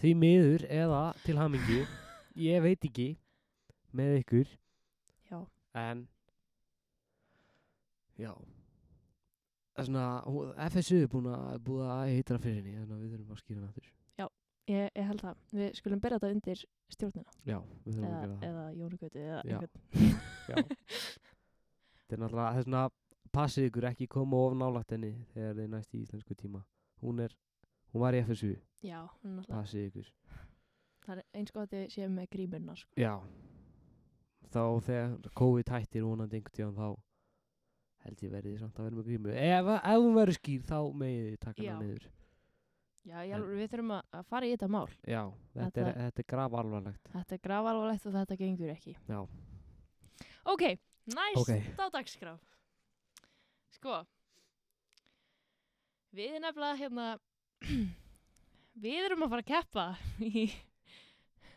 S1: Því miður eða til
S2: *laughs*
S1: hamingju Ég veit ekki með ykkur
S2: Já.
S1: En Já Það er svona, hún- FSU er búin að, búið að heitra fyrir henni Þannig að við þurfum að skýra hann aftur
S2: Ég, ég held það. Við skulum byrja þetta undir stjórnina.
S1: Já, við þurfum að
S2: Eða,
S1: gera það
S2: eða Jónugötu eða
S1: Já.
S2: einhvern.
S1: Já. Þetta er náttúrulega, það er svona, passið ykkur ekki koma of nálægt henni þegar þið næst í íslensku tíma. Hún er, hún var í FSU,
S2: Já, hún náttúrulega.
S1: passið ykkur.
S2: Það er eins gott að þið séum með grímurnar. Sko.
S1: Já. Þá þegar COVID hættir vonandi einhvern tíðan þá held ég verðið samt að vera með grímu. Ef, ef hún verður skýr þá megið þið taka
S2: Já.
S1: hana niður.
S2: Já, ég, alveg- við þurfum að, að fara í þetta mál.
S1: Já, þetta er,
S2: Þetta-
S1: þetta er graf alvarlegt.
S2: Þetta er gravalvarlegt og þetta gengur ekki.
S1: Já.
S2: Ok, næst
S1: Ok.
S2: á dagskrá Sko Við nefnilega hérna *clears throat* Við erum að fara að keppa í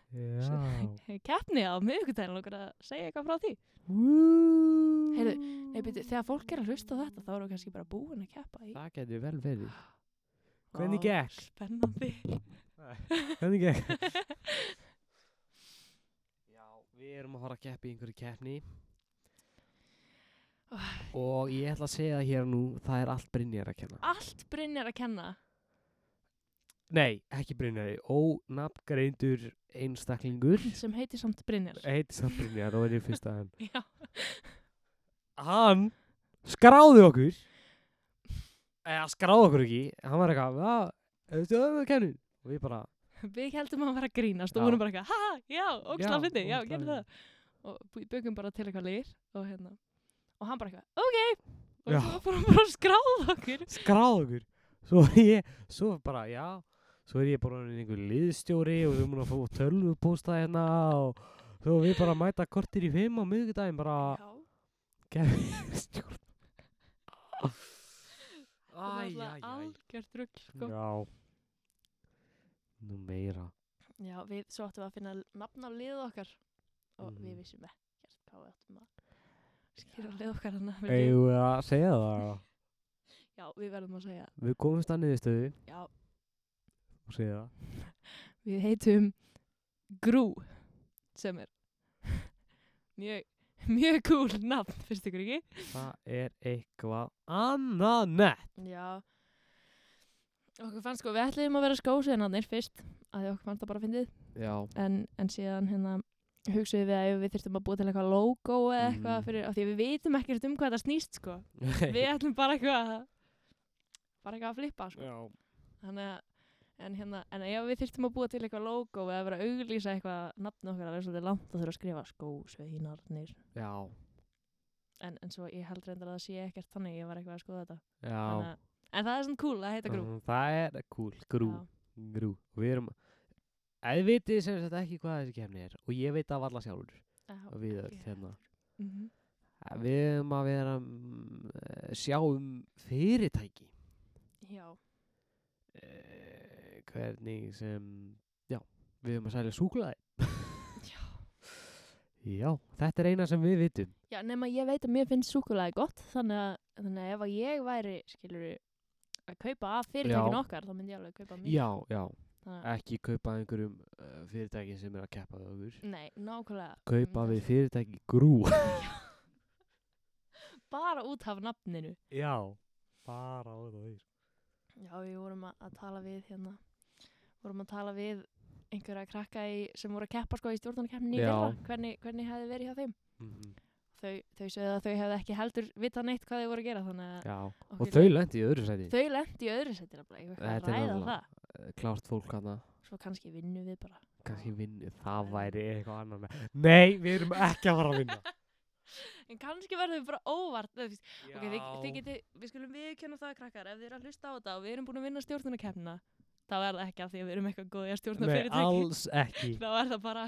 S1: Já.
S2: keppni á miðvikudaginn okkur að segja eitthvað frá því Heyrðu, Nei, byrju, þegar fólk er að hlusta á þetta þá erum við kannski bara búin að keppa í
S1: Það getur vel verið. Hvernig
S2: Ó,
S1: gekk?
S2: Spennandi
S1: Hvernig gekk? *laughs* Já, við erum að fara að keppa í einhverju keppni og ég ætla að segja það hér og nú, það er allt Brynjar að kenna.
S2: Allt Brynjar að kenna
S1: Nei, ekki Brynjar, ónafngreindur einstaklingur,
S2: sem heitir samt Brynjar
S1: heitir samt Brynjar og er í fyrsta hann.
S2: Já,
S1: Hann skráði okkur, eða skráði okkur ekki, hann var eitthvað, já, veistu það við kennum? Og við bara,
S2: Við heldum að hann var að grínast og
S1: Já.
S2: vorum bara eitthvað Ha, já, ógstlega
S1: Já,
S2: fyndi, já,
S1: ógeðslega
S2: gerðu það og bu- byggum bara til eitthvað lýr og hérna og hann bara eitthvað, ok
S1: Já.
S2: og svo fórum bara að skráða okkur
S1: skráð okkur svo ég, svo bara, já svo er ég bara orðinn einhver liðstjóri og við múin að fá tölvupósta hérna og svo við bara mæta kortir í fimm á miðvikudaginn bara
S2: Já, og
S1: stjórn
S2: það
S1: Æ,
S2: er
S1: æ,
S2: alltaf
S1: æ
S2: algjört rugl sko.
S1: Já Nú meira
S2: Já, við svo áttum við að finna nafn á liðið okkar og
S1: Mhm.
S2: við vissum ekkert hvað við áttum að skýra á liðið okkar hana
S1: Eigum við að segja það?
S2: Já, við verðum að segja
S1: Við komumst að niðurstöðu
S2: Já,
S1: og segja það
S2: við heitum Grú sem er *laughs* mjög, mjög cool nafn, finnst ykkur ekki?
S1: Það er eitthvað annað nett
S2: Já Okkur fannst sko, við ætliðum að vera skósveinarnir fyrst að því okkur fannst það bara að fyndið
S1: Já
S2: en, en síðan hérna hugsuðum við að ef við þyrftum að búa til eitthvað logo eða eitthvað
S1: Mm.
S2: fyrir, af því að við vitum ekkert um hvað það snýst
S1: *laughs*
S2: sko við ætlum bara eitthvað að bara eitthvað að flippa sko
S1: Já
S2: þannig að en hérna, en ef við þyrftum að búa til eitthvað logo eða vera að auglýsa eitthvað nafn okkar að vera svolítið langt að þurfa að skrifa skósveinarnir
S1: Já
S2: en, en svo ég held reyndar að það sé ekkert þannig ég var eitthvað að skoða þetta
S1: Já
S2: Þannig að, en það er svona cool að heita grú
S1: Mm, Það er cool, grú,
S2: Já.
S1: grú. Og Við erum, eða þið vitið sem sagt ekki hvað þessi kemni er og ég veit það alla sjálfur
S2: Já,
S1: og við
S2: ekki
S1: öll hérna.
S2: mm -hmm.
S1: Eh, Við erum að vera mm, eh, sjá um fyrirtæki,
S2: Já,
S1: Eh, hvernig sem, já, við erum að sæla súklaði.
S2: Já.
S1: *laughs* Já, þetta er eina sem við vitum.
S2: já nema ég veit að mér finnst súkulega gott þannig að, þannig að ef að ég væri skilur að kaupa af fyrirtækin
S1: Já.
S2: okkar þá myndi ég alveg að kaupa mér
S1: Já, já,
S2: þannig,
S1: ekki kaupa einhverjum uh, fyrirtæki sem er að keppa við okkur.
S2: að- Nei, nákvæmlega
S1: Kaupa
S2: Mm,
S1: við fyrirtæki grú.
S2: *laughs* Bara út af nafninu
S1: já, bara á það því.
S2: Já, við vorum að, að tala við hérna vorum að tala við einhverja krakka í, sem voru að keppa sko í stjórnarkeppninni í
S1: Já.
S2: fyrra, hvernig, hvernig hefði verið hjá þeim þau, þau sögðu að þau hefði ekki heldur vitað neitt hvað þau voru að gera þannig að
S1: Já,
S2: okkur-
S1: og þau lendi í öðru sæti
S2: þau lendi í öðru seti nefnilega, ég var
S1: Þetta er
S2: eitthvað að ræða
S1: nefnilega-
S2: það
S1: Klárt fólk hana
S2: svo kannski vinnum við bara
S1: Kanski vinnu, það væri eitthvað annar með Nei, við erum ekki að fara að *laughs* vinna
S2: en kannski verðum við bara óvart eða, þú veist, ok, þið, þið geti, við skulum viðkenna það krakkar ef þið eru að hlusta á þetta og við erum búin að vinna stjórnarkeppnina þá er það ekki af því að við erum eitthvað góðið að stjórna
S1: Nei, alls ekki
S2: *laughs* þá er það bara,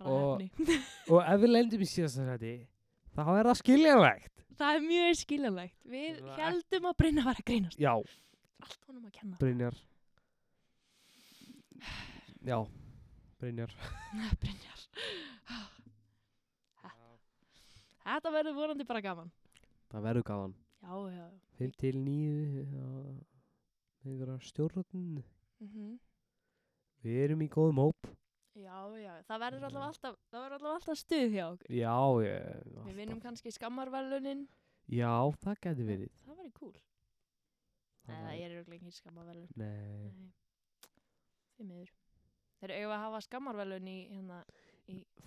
S2: bara
S1: Og-
S2: hefni
S1: Og ef við lendum í síðasta sæti Þá er það skiljanlegt
S2: *laughs* Það er mjög skiljanlegt. Við
S1: Það er
S2: heldum að Brynja var að grínast.
S1: Já,
S2: Allt honum að *laughs* kenna. *sighs*
S1: Brynjar Já, Brynjar
S2: Brynjar. Þetta verður vonandi bara gaman.
S1: Það verður gaman
S2: Já, já.
S1: 5 til 9 einhverja stjórn
S2: Mm
S1: við erum í góðum hóp
S2: Já, já. Það verður allavega alltaf, það verður allavega alltaf stuð hjá okkur.
S1: já, ég,
S2: Við
S1: alltaf.
S2: vinnum kannski skammarverlunin.
S1: já það getur verið
S2: Það verður cool.
S1: Það
S2: Nei, það
S1: væri-
S2: er auðvitað ekki skammarverlun.
S1: Nei.
S2: Nei. Þið miður. Þeir eru að hafa skammarverlun í hérna.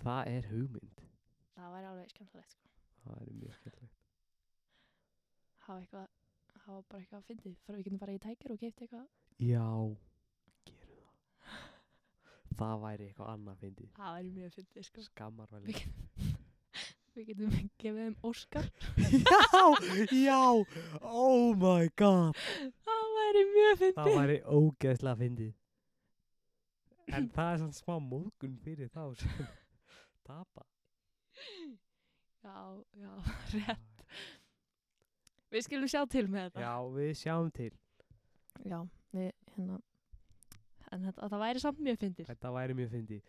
S1: það er hugmynd
S2: Það væri alveg skemmtilegt sko.
S1: það er mjög skemmtilegt
S2: Hafa eitthvað, hafa bara eitthvað að fyndið. Fyrir við getum bara í tækir og keipt eitthvað.
S1: já, gerum það það væri eitthvað annað fyndið
S2: Það væri mjög fyndið sko.
S1: skammar vel
S2: Við
S1: *laughs*
S2: *laughs* Við getum gefið þeim Óskar.
S1: já, já, oh my god
S2: Það væri mjög
S1: það
S2: fyndið.
S1: væri ógeðslega fyndið en það er svona smá móðgun fyrir þá sem
S2: *laughs*
S1: tapa
S2: Já, já, rétt. Við skilum sjá til með þetta.
S1: já, við sjáum til
S2: Já, við, hérna, en þetta, það væri samt mjög fyndið.
S1: Þetta væri mjög fyndið.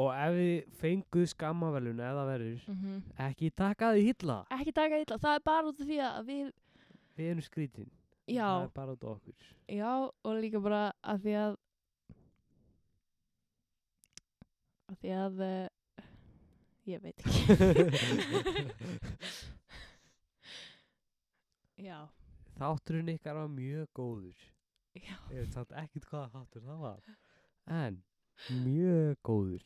S1: Og ef við fenguð skammavelun eða verður,
S2: Mm
S1: ekki taka því hilla.
S2: Ekki taka illa, það er bara út af því að við,
S1: Við erum skrítin.
S2: já,
S1: Það er bara út af okkur.
S2: já, og líka bara að því að, að því að, uh, ég veit ekki. *laughs* já,
S1: Þátturinn ykkar var mjög góður.
S2: já.
S1: Ég veit samt ekkert hvaða þáttur það var. En, mjög góður.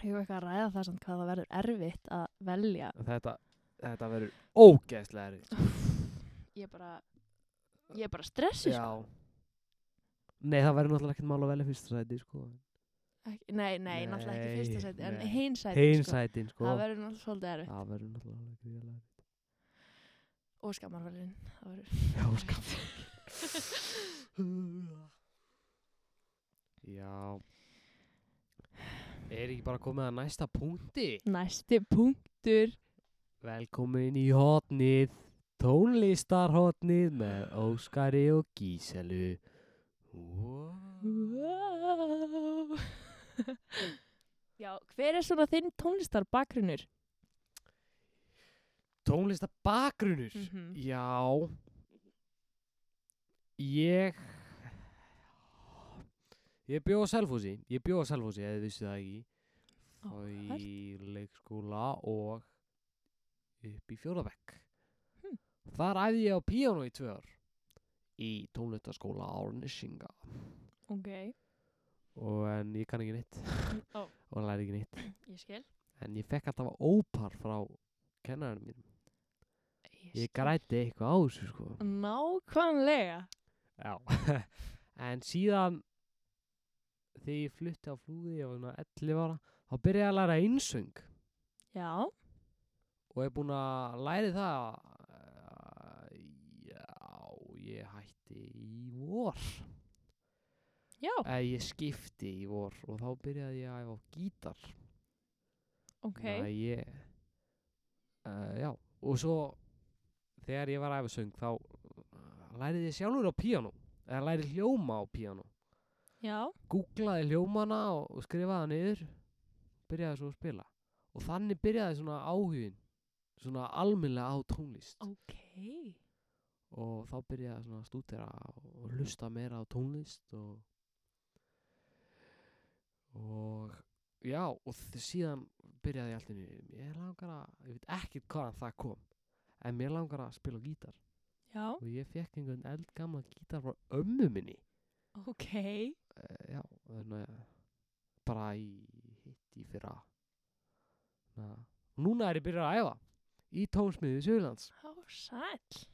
S2: Ég var eitthvað að ræða það samt hvað það verður erfitt að velja.
S1: Þetta, þetta verður ógeðslega erið.
S2: Ég er bara, ég er bara stressuð sko.
S1: Nei, það verður náttúrulega ekkert mál að velja fyrsta sæti, sko.
S2: Ekki- Nei, nei, náttúrulega ekki
S1: Nei,
S2: fyrsta sæti, en
S1: nei.
S2: hinn sæti,
S1: Hinn
S2: sko.
S1: sætin, sko.
S2: Það verður náttúrulega svolítið erfitt.
S1: Það verður náttúrulega alveg gríðarlega erfitt.
S2: Og skammarverðin, það verður.
S1: Já,
S2: erfitt.
S1: Já Er ekki bara komið að næsta punkti?
S2: Næsti punktur.
S1: Velkomin í hotnið Tónlistarhotnið með Óskari og Gíselu wow.
S2: Wow. Já, hver er svona þinn tónlistar bakgrunnur?
S1: Tónlistabakgrunur
S2: Mhm.
S1: Já Ég Ég bjó á Selfossi Ég bjó á Selfossi, eða vissi það ekki
S2: Áhugavert.
S1: í leikskóla og upp í fjórðabekk.
S2: Hmm.
S1: Þar æði ég á píano í tvö ár í tónlistaskóla Árnissinga
S2: Ok,
S1: og en ég kann ekki neitt
S2: Ó.
S1: og læri ekki neitt
S2: ég skil.
S1: en ég fekk alltaf ópar frá kennarinn mínum. Ég græti eitthvað á þessu sko.
S2: Nákvæmlega.
S1: Já. *laughs* en síðan þegar ég flutti á flúði ég var svona 11 ára þá byrjaði ég að læra einsöng
S2: Já,
S1: og er búinn að læri það uh, já, ég hætti í vor
S2: já,
S1: eða ég skipti í vor og þá byrjaði ég að æfa á gítar
S2: ok.
S1: Þannig að ég uh, já, og svo þegar ég var að æfa söng þá uh, lærið ég sjálfur á píanó eða lærið hljóma á píanó
S2: Já,
S1: googlaði hljómana og, og skrifaði það niður byrjaði svo að spila og þannig byrjaði svona áhugin svona almennilega á tónlist
S2: ok.
S1: og þá byrjaði ég svona að stúdera og hlusta meira á tónlist og og já og þ- síðan byrjaði ég allt inni ég langar að, ég veit ekkert hvaðan það kom en mér langar að spila á gítar
S2: Já,
S1: og ég fekk einhvern eldgamla gítar frá ömmu minni
S2: ok.
S1: uh, já, þannig að- bara í hitt í fyrra Na. núna er ég byrjað að æfa í tónsmiði Suðurlands
S2: Há sæll.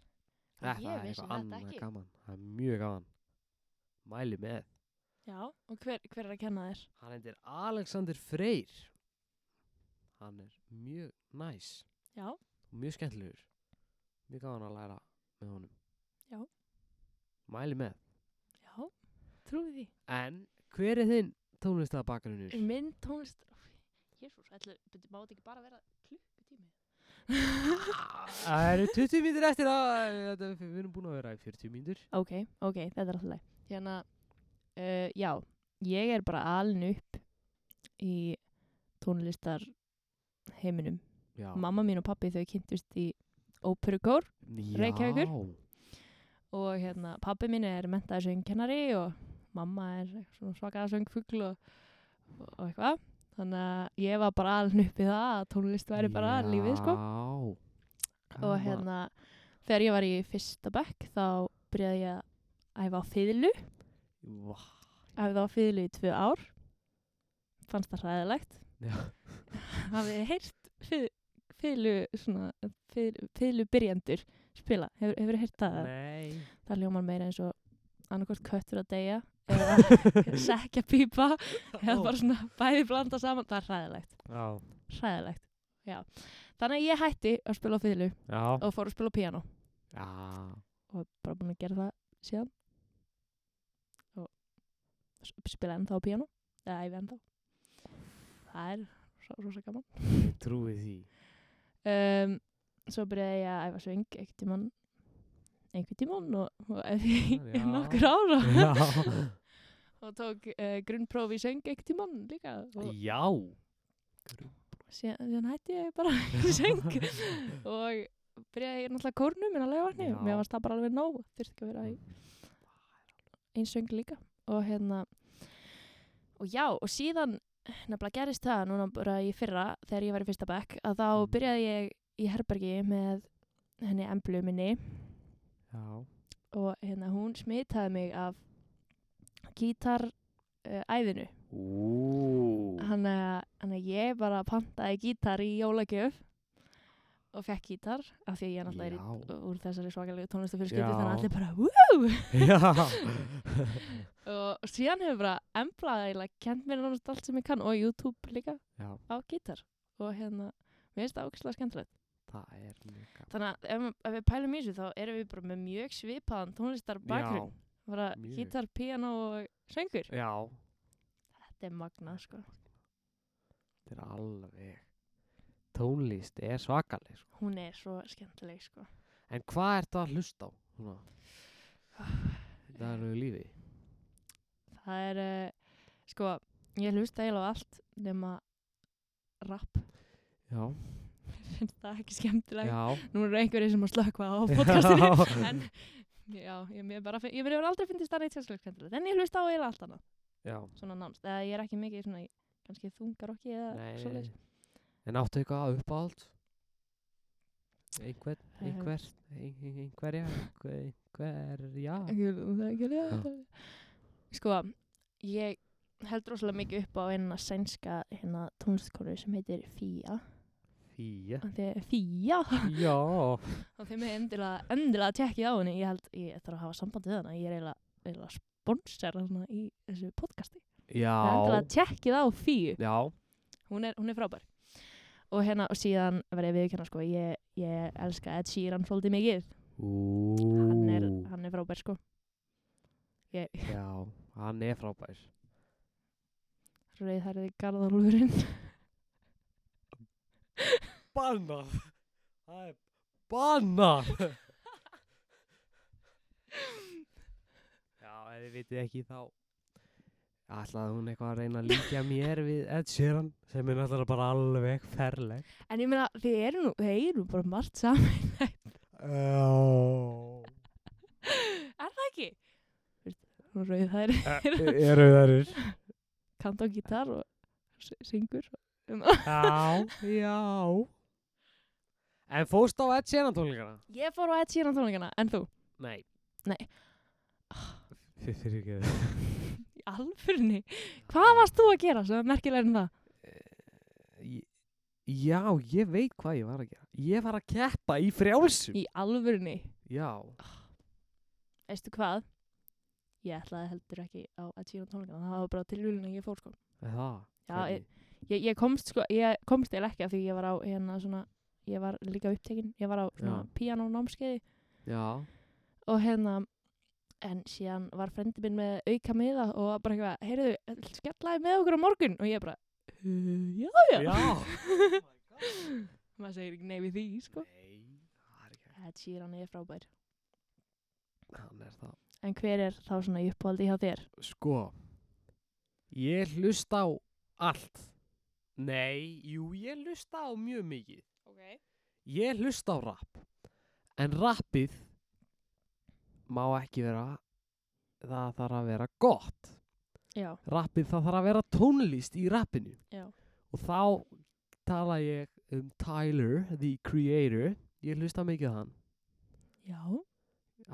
S1: þetta
S2: Ég
S1: er
S2: vissi
S1: eitthvað
S2: þetta
S1: annað
S2: ekki.
S1: gaman það er mjög gaman mæli með
S2: Já, og hver, hver er að kenna þér?
S1: hann heitir Alexander Freyr hann er mjög næs
S2: Já,
S1: og mjög skemmtilegur mjög gaman að læra með honum
S2: Já.
S1: mæli með
S2: já, trúi því.
S1: en hver er þinn tónlistabakarunur?
S2: Minn tónlist, jésús, ætlu, byrju, má þetta ekki bara vera klukkutími?
S1: það eru 20 mínútur eftir að þetta- við erum búin að vera í 40 mínútur
S2: Ok, ok, þetta er alltaf leið. Hérna, uh, já, ég er bara alin upp í tónlistar heiminum.
S1: já,
S2: Mamma mín og pappi þau kynntust í óperukór Reykjavíkur.
S1: Já.
S2: og hérna pappi mín er mentaði söngkennari og mamma er svona svakaða söngfugl og, og, og eitthvað þannig að ég var bara alveg upp í það að tónlist væri bara lífið sko
S1: Já.
S2: og hérna þegar ég var í fyrsta bekk þá byrjaði ég að æfa á fiðlu
S1: Vá.
S2: æfði á fiðlu í tvö ár fannst það hræðilegt
S1: Já.
S2: *laughs* hafið þið heyrt fið, fiðlu svona, fið, fiðlu byrjandur spila, hefur, hefur heyrt það?
S1: nei
S2: það hljómar meira eins og annarkvort köttur að deyja
S1: *laughs*
S2: eða sekja pípa eða bara svona bæði blanda saman það er hræðilegt,
S1: já,
S2: hræðilegt Já. þannig að ég hætti að spila á fiðlu
S1: já.
S2: og fór að spila á piano
S1: já.
S2: og er bara búin að gera það síðan og s- spila ennþá á piano eða æfi ennþá það er svo, rosa gaman
S1: ég trúi
S2: *laughs*
S1: því
S2: um, svo byrjaði ég að æfa sving einhvern tímann einhvern tímann og, og æfi í
S1: Já.
S2: *laughs* nokkur ára
S1: já,
S2: *laughs* og tók uh, grunnpróf í söng eitt í mann líka og
S1: já.
S2: síðan, síðan hætti ég bara *laughs* í söng og byrjaði ég náttúrulega kórnum minna laugarni
S1: Já.
S2: og mér varst það bara alveg nóg þurfti ekki að vera í einn söng líka og hérna og já og síðan nefnilega gerist það núna bara í fyrra þegar ég var í fyrsta bekk að þá
S1: Mhm.
S2: byrjaði ég í herbergi með henni emblu minni
S1: já.
S2: og hérna hún smitaði mig af gítar uh, æðinu
S1: Ú.
S2: Þannig að- þannig að ég bara pantaði gítar í jólagjöf og fekk gítar af því að ég náttúrulega er
S1: Já.
S2: í- úr þessari svakalegu tónlistafjölskyldu
S1: Já.
S2: þannig að allir bara Woo!
S1: *laughs* já.
S2: og síðan hefur bara embraðilega kent mér náttúrulega allt sem ég kann og YouTube líka
S1: já,
S2: á gítar og hérna, mér finnst það ákvæmstlega skemmtilegt
S1: það er mjög gaman.
S2: þannig að ef, ef við pælum í þessu þá erum við bara með mjög svipaðan tónlistar bakgrunn bara
S1: mjög.
S2: gítar, piano og söngur
S1: Já,
S2: þetta er magnað sko,
S1: þetta er alveg tónlist er svakaleg sko.
S2: hún er svo skemmtileg sko
S1: en hvað ertu að hlusta á? Svona. Það er nú lífi
S2: Það er, uh, sko, ég hlusta eiginlega á allt nema *laughs* rapp.
S1: Já,
S2: Finnst það ekki skemmtilegt.
S1: já,
S2: Nú eru einhverjir sem að slökva á podcastinu.
S1: *laughs* Já.
S2: en, já, ég mér bara, finn- ég mér hefur aldrei finnst það neitt sérstaklega skemmtilegt. En ég hlusta á eiginlega allt annað,
S1: já.
S2: svona nánst. Eða ég er ekki mikið svona, í- kannski þungarokki eða
S1: Nei,
S2: svoleiðis.
S1: nei. En áttu eitthvað að uppáhald? Einhver,
S2: Eh.
S1: einhver, ein- ein- einhverja, einhver- einhverja
S2: Ekki- það er ekki rétt. Sko, ég held rosalega mikið upp á einna sænska hérna, tónlistkonu sem heitir Fía.
S1: Fía
S2: Af því- Fía?
S1: Já,
S2: og þeim er endilega, endilega tjekkið á henni ég held, ég þarf að hafa samband við hana ég er eiginlega, eiginlega sponsor hana í þessu podcasti það er
S1: já,
S2: endilega tjekkið á fíu
S1: já,
S2: hún er, hún er frábær og hérna, og síðan verði ég viðkjanna sko ég, ég elska Ed Sheeran svolítið mikið hann er,
S1: Ú,
S2: hann er frábær sko
S1: já, hann er frábær
S2: rauðhærið garðarúlurinn
S1: Bannað, það er bannað Já, ef þið vitið ekki þá Ætlaði hún eitthvað að reyna að líka mér við Ed Sheeran sem er náttúrulega bara alveg ferleg
S2: *laughs* en ég meina, þið eru nú, þið eru nú bara margt saman
S1: Já
S2: *laughs* er það ekki? rauðhærið,
S1: Eh, E, Eru þarir
S2: kant á gítar og s- syngur um-
S1: Já, já En fórst á Ed Sheeran tónleikana?
S2: *laughs* ég fór á Ed Sheeran tónleikana, en þú?
S1: Nei
S2: Nei.
S1: Þið fyrir ekki það
S2: alfurni, hvað varst þú að gera sem er merkilega en það?
S1: Ég- Já, ég veit hvað ég var að gera. Ég var að keppa í frjálsum.
S2: Í alfurni,
S1: Já.
S2: veistu hvað? Ég ætlaði heldur ekki á að tíla tónleikana, það var bara tilvílun að ég fór sko.
S1: er Það.
S2: Já,
S1: Hvernig?
S2: Ég, ég komst sko, ég komst eða ekki af því ég var á hérna svona, ég var líka upptekinn, ég var á svona
S1: Já.
S2: píanónámskeiði
S1: Já.
S2: og hérna, en síðan var frendi minn með auka miða og var bara eitthvað, heyrðu, skellaði með okkur á morgun og ég bara, *laughs* "Uh, já, já. *laughs* Sko. Maður segir ekki nei við því, sko.
S1: Nei, það er ekki.
S2: Ed Sheeran er frábær.
S1: Hann er það.
S2: En hver er þá svona í uppáldi hjá þér?
S1: Sko, ég hlusta á allt. Nei, jú, ég hlusta á mjög mikið.
S2: Ok.
S1: Ég hlusta á rap. En rappið má ekki vera, það þarf að vera gott.
S2: Já,
S1: Rappið, það þarf að vera tónlist í rappinu.
S2: já,
S1: Og þá tala ég um Tyler, the creator. Ég hlusta mikið á hann.
S2: já,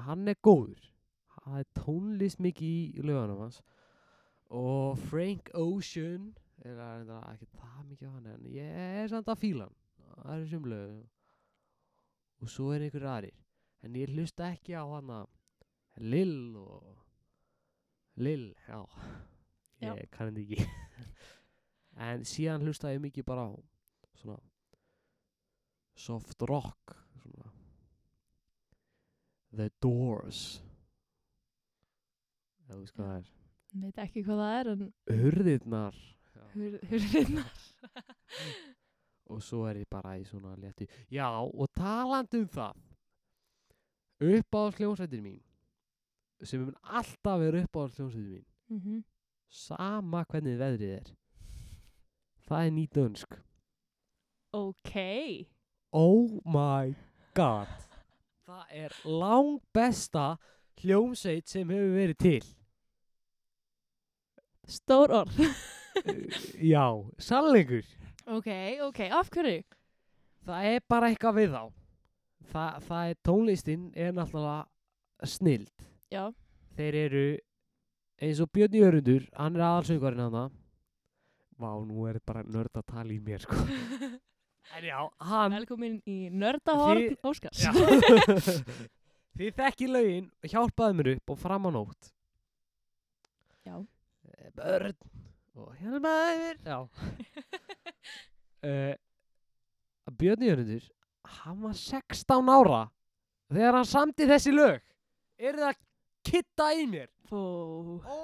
S1: hann er góður það er tónlist mikið í lögunum hans og Frank Ocean er að reynda ekki það mikið á hann en ég er samt að fíla hann það er sem lögum og svo er einhver aðrir en ég hlusta ekki á hann Lil og Lil, já
S2: Já.
S1: ég kann þetta ekki *laughs* en síðan hlusta ég mikið bara á svona soft rock svona The Doors Ef þú veist hvað það er
S2: veit ekki hvað það er en
S1: Hurðirnar
S2: hurðinnar.
S1: Og svo er ég bara í svona létti Já, og talandi um það Uppáðs hljómsveitir mín Sem mun alltaf vera uppáðs hljómsveitir mín
S2: Mm -hmm.
S1: Sama hvernig veðrið er Það er nýdönsk
S2: Ok,
S1: Oh my god Það er langbesta hljómsveit sem hefur verið til
S2: stór orð.
S1: Já, sannleikur
S2: ok, ok, af hverju?
S1: Það er bara eitthvað við þá. Þa, það er tónlistin er náttúrulega snild.
S2: Já, *laughs*
S1: Þeir eru eins og Björn Jörundur, hann er aðalsöngvarinn hann það. Vá, nú er bara nörd að tala í mér, sko. en já, hann...
S2: velkomin í nördahorn
S1: Þið-
S2: Óskars.
S1: Já. *laughs* Þið þekki lögin, hjálpaði mér upp og fram á nótt.
S2: Já.
S1: Eh, Börn og hjálpaði mér. Já. uh, Björn Jörundur, hann var 16 ára þegar hann samti þessi lög. Er það að kitta í mér?
S2: Ó,
S1: Ó,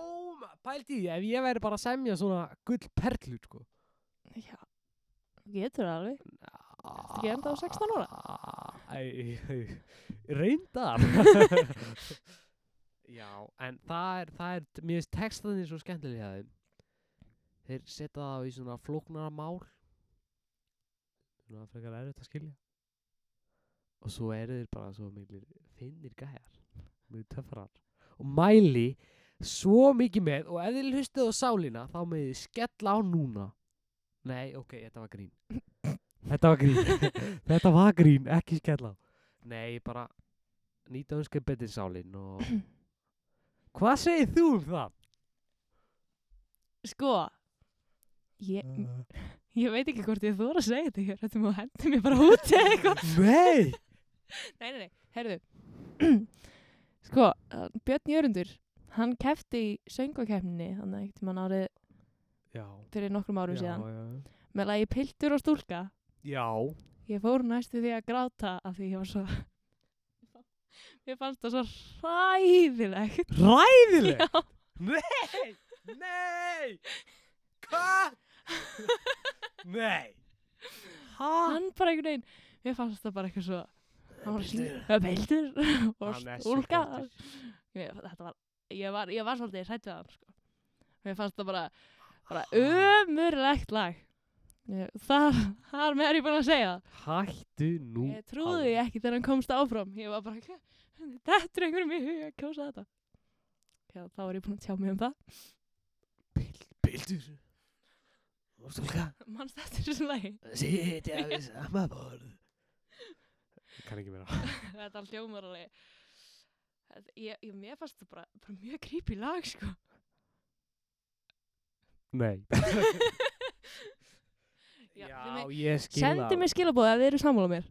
S1: pældi því, ef ég væri bara að semja svona gull perlur, sko.
S2: já, getur það alveg.
S1: Ertu
S2: ekki ennþá 16 ára?
S1: Reyndar *laughs* Já, en það er, það er mér finnst textaðin svo skemmtilega þeim Þeir setja það í svona flóknara mál Svona frekar erfitt að skilja Og svo eru þeir bara svo miklir finnir gæjar Mjög töffrar Og mæli svo mikið með Og ef þið hlustið á sálina þá með þið skella á núna Nei, ok, þetta var grín Þetta var grín *laughs* Þetta var grín, ekki skella á Nei, bara nýta önskar betri sálin
S2: *clears throat*
S1: og Hvað segir þú um það?
S2: Sko, ég,
S1: Eh,
S2: ég veit ekki hvort ég þóra að segja þetta hér, þetta má hendi mér bara út eða eitthvað.
S1: Nei
S2: Nei, nei, nei, herðu *clears throat* Sko, uh, Björn Jörundur hann kefti í söngakefninni þannig ekkert mann árið
S1: Já
S2: fyrir nokkrum árum síðan
S1: já,
S2: með lagi Piltur og stúlka
S1: já
S2: ég fór næstu því að gráta af því ég var svo *laughs* ég fannst það svo hræðilegt
S1: Ræðileg
S2: Já,
S1: Nei Nei
S2: *laughs*
S1: Hvað? Nei Hæ?
S2: hann bara einhvern veginn mér fannst það bara eitthvað svo hann var
S1: Piltur.
S2: svona, Piltur og
S1: Hann er svo
S2: stúlka
S1: flottur.
S2: Mér- þetta var, ég var, ég var svolítið hrætt við hann sko. mér fannst það bara bara ömurlegt lag Ég- þar, þar með er ég búin að segja það.
S1: Hættu nú
S2: uh. ég trúði því ekki þegar hann komst áfram ég var bara, þetta er einhverjum um í huga að kjósa þetta Já, þá var ég búin að tjá mig um það
S1: Bildur Og stúlka
S2: mannst þetta þessu lagi *laughs*
S1: Sitja við *laughs* sama borð Ég kann ekki meira
S2: þetta hljómar alveg
S1: *laughs*
S2: Þetta- ég, ég, mér fannst þetta bara, bara mjög creepy lag sko
S1: *laughs* Nei.
S2: Já,
S1: Já,
S2: þið
S1: ég skil
S2: Sendi
S1: það.
S2: mér skilabóð ef þið eru sammála mér.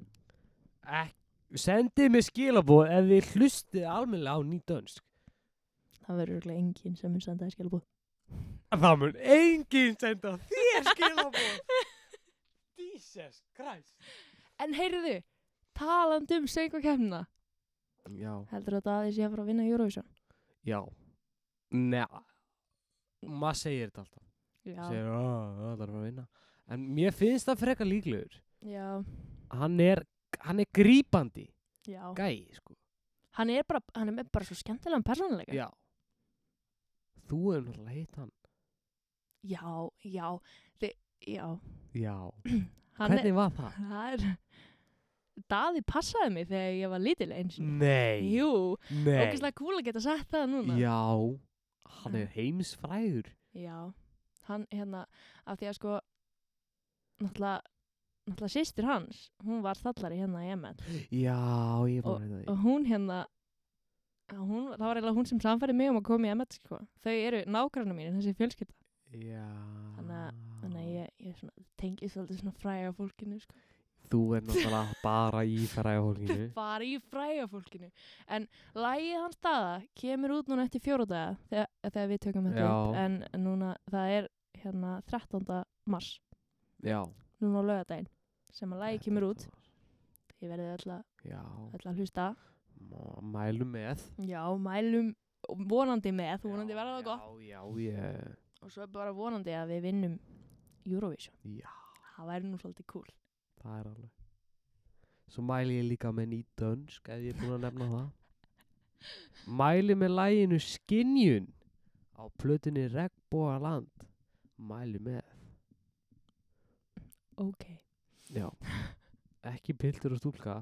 S1: Ek, sendið mér skilabóð ef þið hlustið almennilega á nýdönsk.
S2: Það verður örugglega enginn sem mun sendaði skilabóð.
S1: Það mun enginn senda þér skilabóð. *laughs* Jesus Christ.
S2: *laughs* En heyrðu, talandi um söngvakefnina,
S1: Já.
S2: heldur þetta að þessi að fara að vinna Eurovision?
S1: Já. Nei, maður segir þetta alltaf.
S2: Já.
S1: Segir, "Ah, það er að fara að vinna. En mér finnst það frekar líklegur.
S2: Já,
S1: Hann er, hann er grípandi.
S2: já.
S1: Gæi, sko.
S2: Hann er bara, hann er með bara svo skemmtilegan persónuleika.
S1: Já. Þú hefur náttúrulega hitt hann.
S2: Já, já, þið, já.
S1: Já.
S2: Hann
S1: Hvernig var það?
S2: er, það er, Daði passaði mig þegar ég var lítil eins.
S1: Nei.
S2: Jú,
S1: Nei.
S2: ógæslega cool að geta sagt það núna.
S1: Já, hann
S2: Já.
S1: er heimsfræður.
S2: Já, hann hérna, af því að sko, náttúrulega, náttúrulega sýstir hans, hún var þallari hérna í ML
S1: Já, ég er búin að veita því.
S2: og hún hérna, að hún, það var eiginlega hún sem samfæri mig um að koma í ML sko, þau eru nágrannar mínir, þessi fjölskylda,
S1: Ah. Já.
S2: Þannig þannig að ég, ég svona, tengi svolítið svona fræga fólkinu sko,
S1: Þú er náttúrulega bara í fræðahólkinu.
S2: *laughs* bara í fræga fólkinu, en lægið hans staða kemur út núna eftir fjóra daga þegar, þegar við tökum þetta
S1: Já.
S2: upp, en núna, það er hérna 13. mars,
S1: Já.
S2: núna á lögadaginn sem að lægi
S1: þetta
S2: kemur
S1: er
S2: út
S1: það.
S2: Ég verði alltaf,
S1: Já,
S2: alltaf hlusta.
S1: má- mælum með.
S2: Já, mælum vonandi með, vonandi
S1: Já,
S2: verða það gott.
S1: Já, já, ég,
S2: Og svo er bara vonandi að við vinnum Eurovision.
S1: já,
S2: Það væri nú svolítið cool.
S1: það er alveg. Svo mæli ég líka með nýt dönsk, ef ég er búin að nefna það. Mæli með læginu Skinjun á plötunni Regnbóaland. Mæli með.
S2: Ok.
S1: Já, ekki piltur og stúlka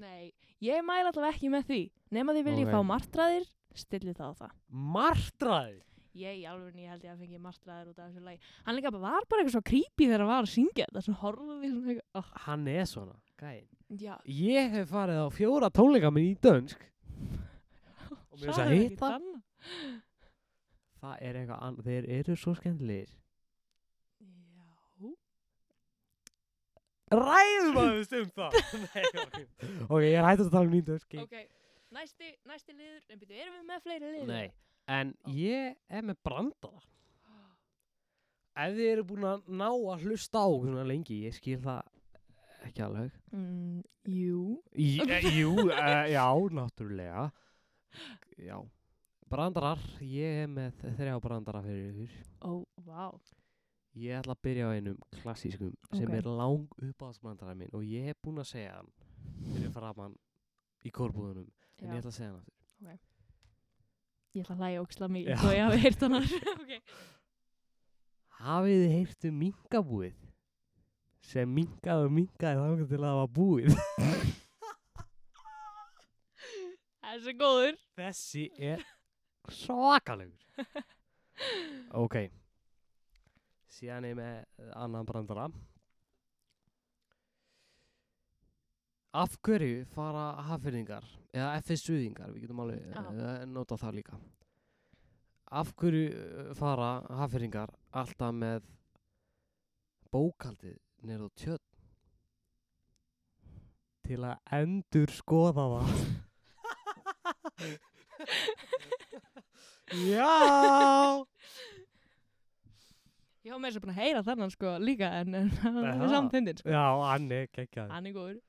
S2: Nei, ég mæla alltaf ekki með því. Nefn að þið viljið
S1: Ok.
S2: fá martraðir, stilli það á það.
S1: Martraði
S2: Ég í alveg nýja held ég að fengi martraðir út af þessu lagi. Hann líka bara var bara eitthvað svo creepy þegar hann var að syngja þetta. Svo horfði því svona eitthvað. Oh.
S1: Hann er svona, gæinn
S2: Já.
S1: Ég hef farið á fjóra tónleika minn í dönsk Og mér finnst að
S2: Sagði
S1: hitta-
S2: ekkert annað.
S1: Það er eitthvað annað, þeir eru svo skemmtilegir
S2: Já.
S1: Ræðum aðeins um það Nei, ok *laughs* Ok, ég er hættast að tala um nýjum dönsk
S2: Ok, næsti, næsti liður, en byrju, erum við með fleiri liður?
S1: Nei, en ég er með brandara Ef þið eru búin að ná að hlusta á okkur svona lengi Ég skil það ekki alveg
S2: Mm, jú.
S1: Í- eh, Jú, uh, já, náttúrulega Já Brandarar, ég er með þrjá brandara fyrir ykkur
S2: Ó, vá.
S1: Ég ætla að byrja á einum klassískum sem
S2: Ok.
S1: er lang uppáðsbrandara minn og ég er búinn að segja hann fyrir framann í korbúðunum en ég
S2: Já,
S1: ætla að segja hann aftur
S2: ég ætla að hlæja óksla mikið
S1: Já.
S2: þó ég hafi heyrt *laughs* hann að okay.
S1: Hafið þið heyrt um minkabúið sem minkaði og minkaði þangar til að það var búið *laughs*
S2: Það er svo góður.
S1: Þessi *laughs* er svakalegur *laughs* Ok Síðan er ég með eh, annan brandara Af hverju fara hafyrðingar eða FSU-ingar, við getum alveg
S2: Já.
S1: uh, nota það líka Af hverju eh, fara hafyrðingar alltaf með bókaldið nýrð á tjörn til að endur skoða það *laughs* Já
S2: Ég var með þess að búin að heyra þennan sko líka en, en hann
S1: Aha.
S2: er samfindin sko.
S1: Já, hann er geggjaður
S2: Hann er góður.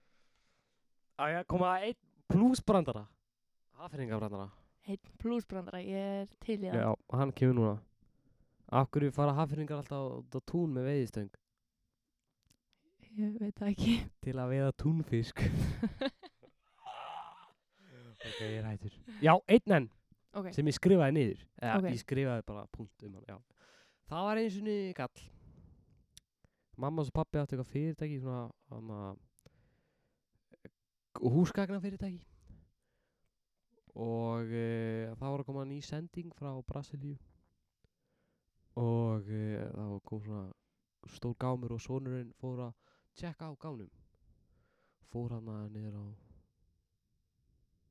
S1: Á ég að koma að einn plusbrandara Hafringabrandara
S2: Einn plusbrandara, ég er til í það.
S1: hann kemur núna Af hverju fara hafringar alltaf út á tún með veiðistöng
S2: Ég veit það ekki.
S1: *laughs* Til að veiða túnfisk Ok, ég er hættur Já, einn enn
S2: Ok,
S1: sem ég skrifaði niður eða
S2: Ok.
S1: ég skrifaði bara punkt um hann já. það var eins og niður gall mamma og pappi áttu eitthvað fyrirtæki svona hana, húsgagna fyrirtæki og e, það var að koma ný sending frá Brasilíu og e, það var kom svona stór gámur og sonurinn fór að tjekka á gánum fór hann að niður á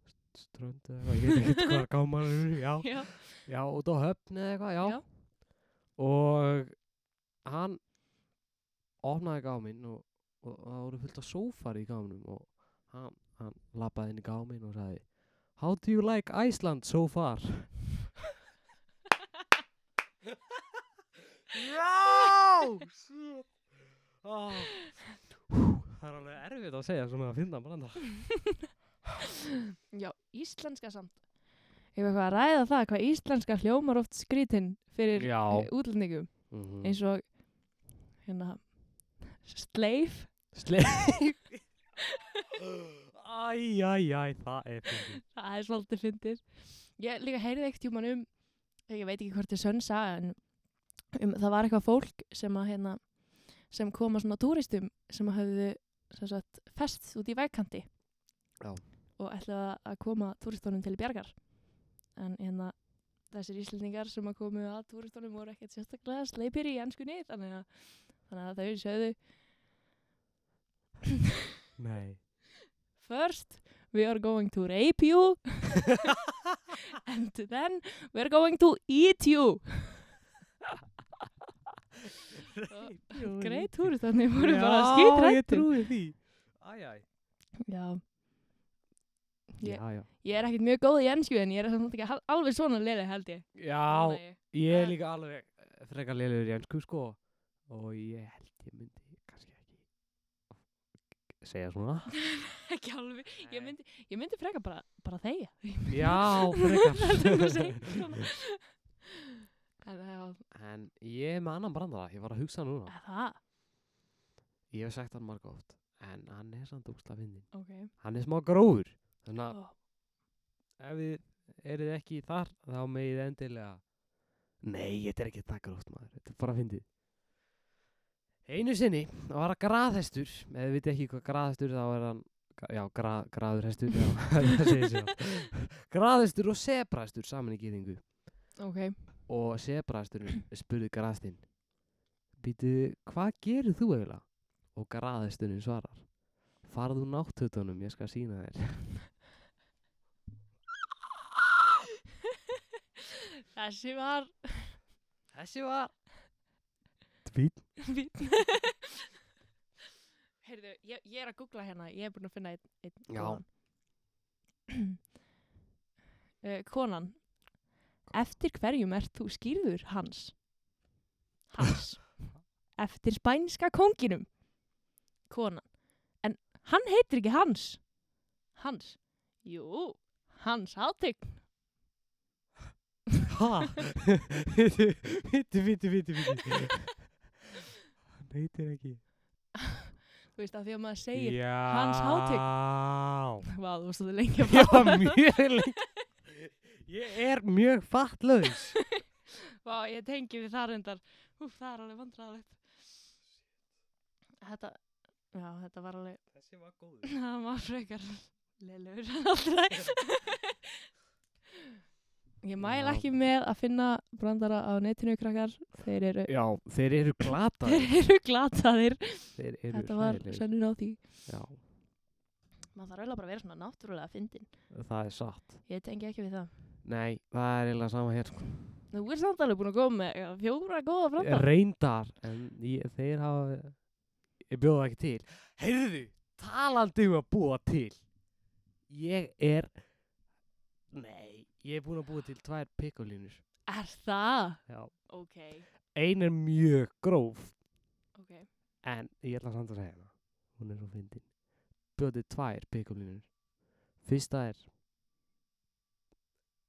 S1: st- strönd eða eitthvað, ég veit ekki hvað gámar eru já
S2: já.
S1: Já, út á höfn eða eitthvað, já.
S2: Já.
S1: og hann opnaði gáminn og, og það voru fullt af sófar í gáminum og hann, hann lappaði inn í gáminn og sagði How do you like Iceland so far? Já! Shit! Ah. Hú, Það er alveg erfitt að segja svona að finna branda.
S2: Já, íslenska samt. Ég var eitthvað að ræða það hvað íslenska hljómar oft skrítinn fyrir
S1: Já. Mm.
S2: eh, útlendingum. Eins og, hérna, sleif.
S1: Sleik. Æj, æj, æj, það er fyndið.
S2: Það er svolítið fyndið. Ég líka heyrði ekkert júman um, ég veit ekki hvort þið sönsa, en um, það var eitthvað fólk sem að, hérna, sem koma svona túristum sem að höfðu sem sagt, fest út í vegkanti
S1: Já.
S2: og ætlaði að koma túristunum til bjargar. En hérna, þessir íslendingar sem að komu að túristunum voru ekkert sérstaklega sleipir í ennskunni, þannig að, þannig að þau sögðu
S1: Nei.
S2: First, we are going to rape you. *laughs* and then we're going to eat you. Greið túrist, þannig voru bara
S1: Já, ég
S2: skýtrættir.
S1: trúi því. Æj, æj.
S2: Já, Ég-
S1: Já, já.
S2: ég er ekkert mjög góð í ennsku en ég er samt ekki hal- alveg svona leiði held ég.
S1: Já,
S2: Þannig að ég- *laughs*
S1: ég er líka alveg eh, frekar lélugur í ennsku sko og ég held ég myndi kannski ekki segja svona.
S2: Ekki alveg, ég myndi, ég myndi freka bara, bara þeia.
S1: *laughs* Já,
S2: *laughs* Heldur en að segja
S1: *laughs* frekar.
S2: svona. En það,
S1: en ég er með annan brandara, ég var að hugsa núna.
S2: er það,
S1: Ég hef sagt hann marga oft, en hann er samt úksla fyndin.
S2: ok.
S1: Hann er smá gróður, þannig að
S2: Ó,
S1: ef þið eruð ekki þar, þá megið þið endilega. Nei, þetta er ekki það gróft maður, þetta er bara fyndið. Einu sinni var að graðhestur, ef þið vitið ekki hvað graðhestur þá er hann, já, gra, graðurhestur, já, *laughs* það segir sér. Graðhestur og sebrahestur saman í gýðingu.
S2: ok,
S1: og sebrasturinn spurði graðstinn Býtu, hvað gerir þú eiginlega? Og graðsturinn svarar Farðu úr náttutunum, ég skal sína þér *laughs*
S2: þessi var
S1: Þessi var Tvít
S2: fín. *laughs* Heyrðu, ég, ég er að googla hérna, ég er búin að finna einn. einn
S1: Já.
S2: góðan. *clears throat* Eh, konan, eftir hverjum ert þú skýrður hans?
S1: *laughs*
S2: Hans. eftir spænska konginum. Konan, en hann heitir ekki hans. Hans, jú, hans
S1: *laughs*
S2: átegn.
S1: Hæ? Býtu, býtu, býtu, býtu Hann heitir ekki
S2: Þú veist að því að maður segir,
S1: Já
S2: Hans Hátign.
S1: Hátig
S2: *laughs* yeah. hvað, þú veist að þið lengi að
S1: Já,
S2: fá
S1: mjög lengi Ég er mjög fattlaus
S2: Vá, ég tengi við það reyndar. Úf, það er alveg vandræðalegt. Þetta, já, þetta var alveg, *laughs*
S1: Þessi var góður
S2: það var frekar leilur en alltaf. *laughs* Ég
S1: Já.
S2: mæl ekki með að finna brandara á netinu krakkar. Þeir eru,
S1: Já, þeir eru glataðir
S2: *laughs* þeir eru glataðir.
S1: Þeir eru
S2: Þetta var
S1: hræðilegir.
S2: sönnun á því.
S1: Já,
S2: Maður þarf eiginlega bara að vera svona náttúrulega fyndin.
S1: það er satt
S2: Ég tengi ekki við það.
S1: Nei, það er eiginlega sama hér sko.
S2: Þú er samt alveg búin að góða með já, fjóra góða brandara.
S1: Reyndar, en ég, þeir hafa Ég bjóða ekki til Heyrðu, talandi um að búa til Ég er Nei, ég er búin að búa til tvær pikkulínur
S2: Er það?
S1: Já.
S2: Ok,
S1: Ein er mjög gróf
S2: ok.
S1: En ég ætla samt að segja hana Hún er svo fyndin Bjóði tvær pikkulínur Fyrsta er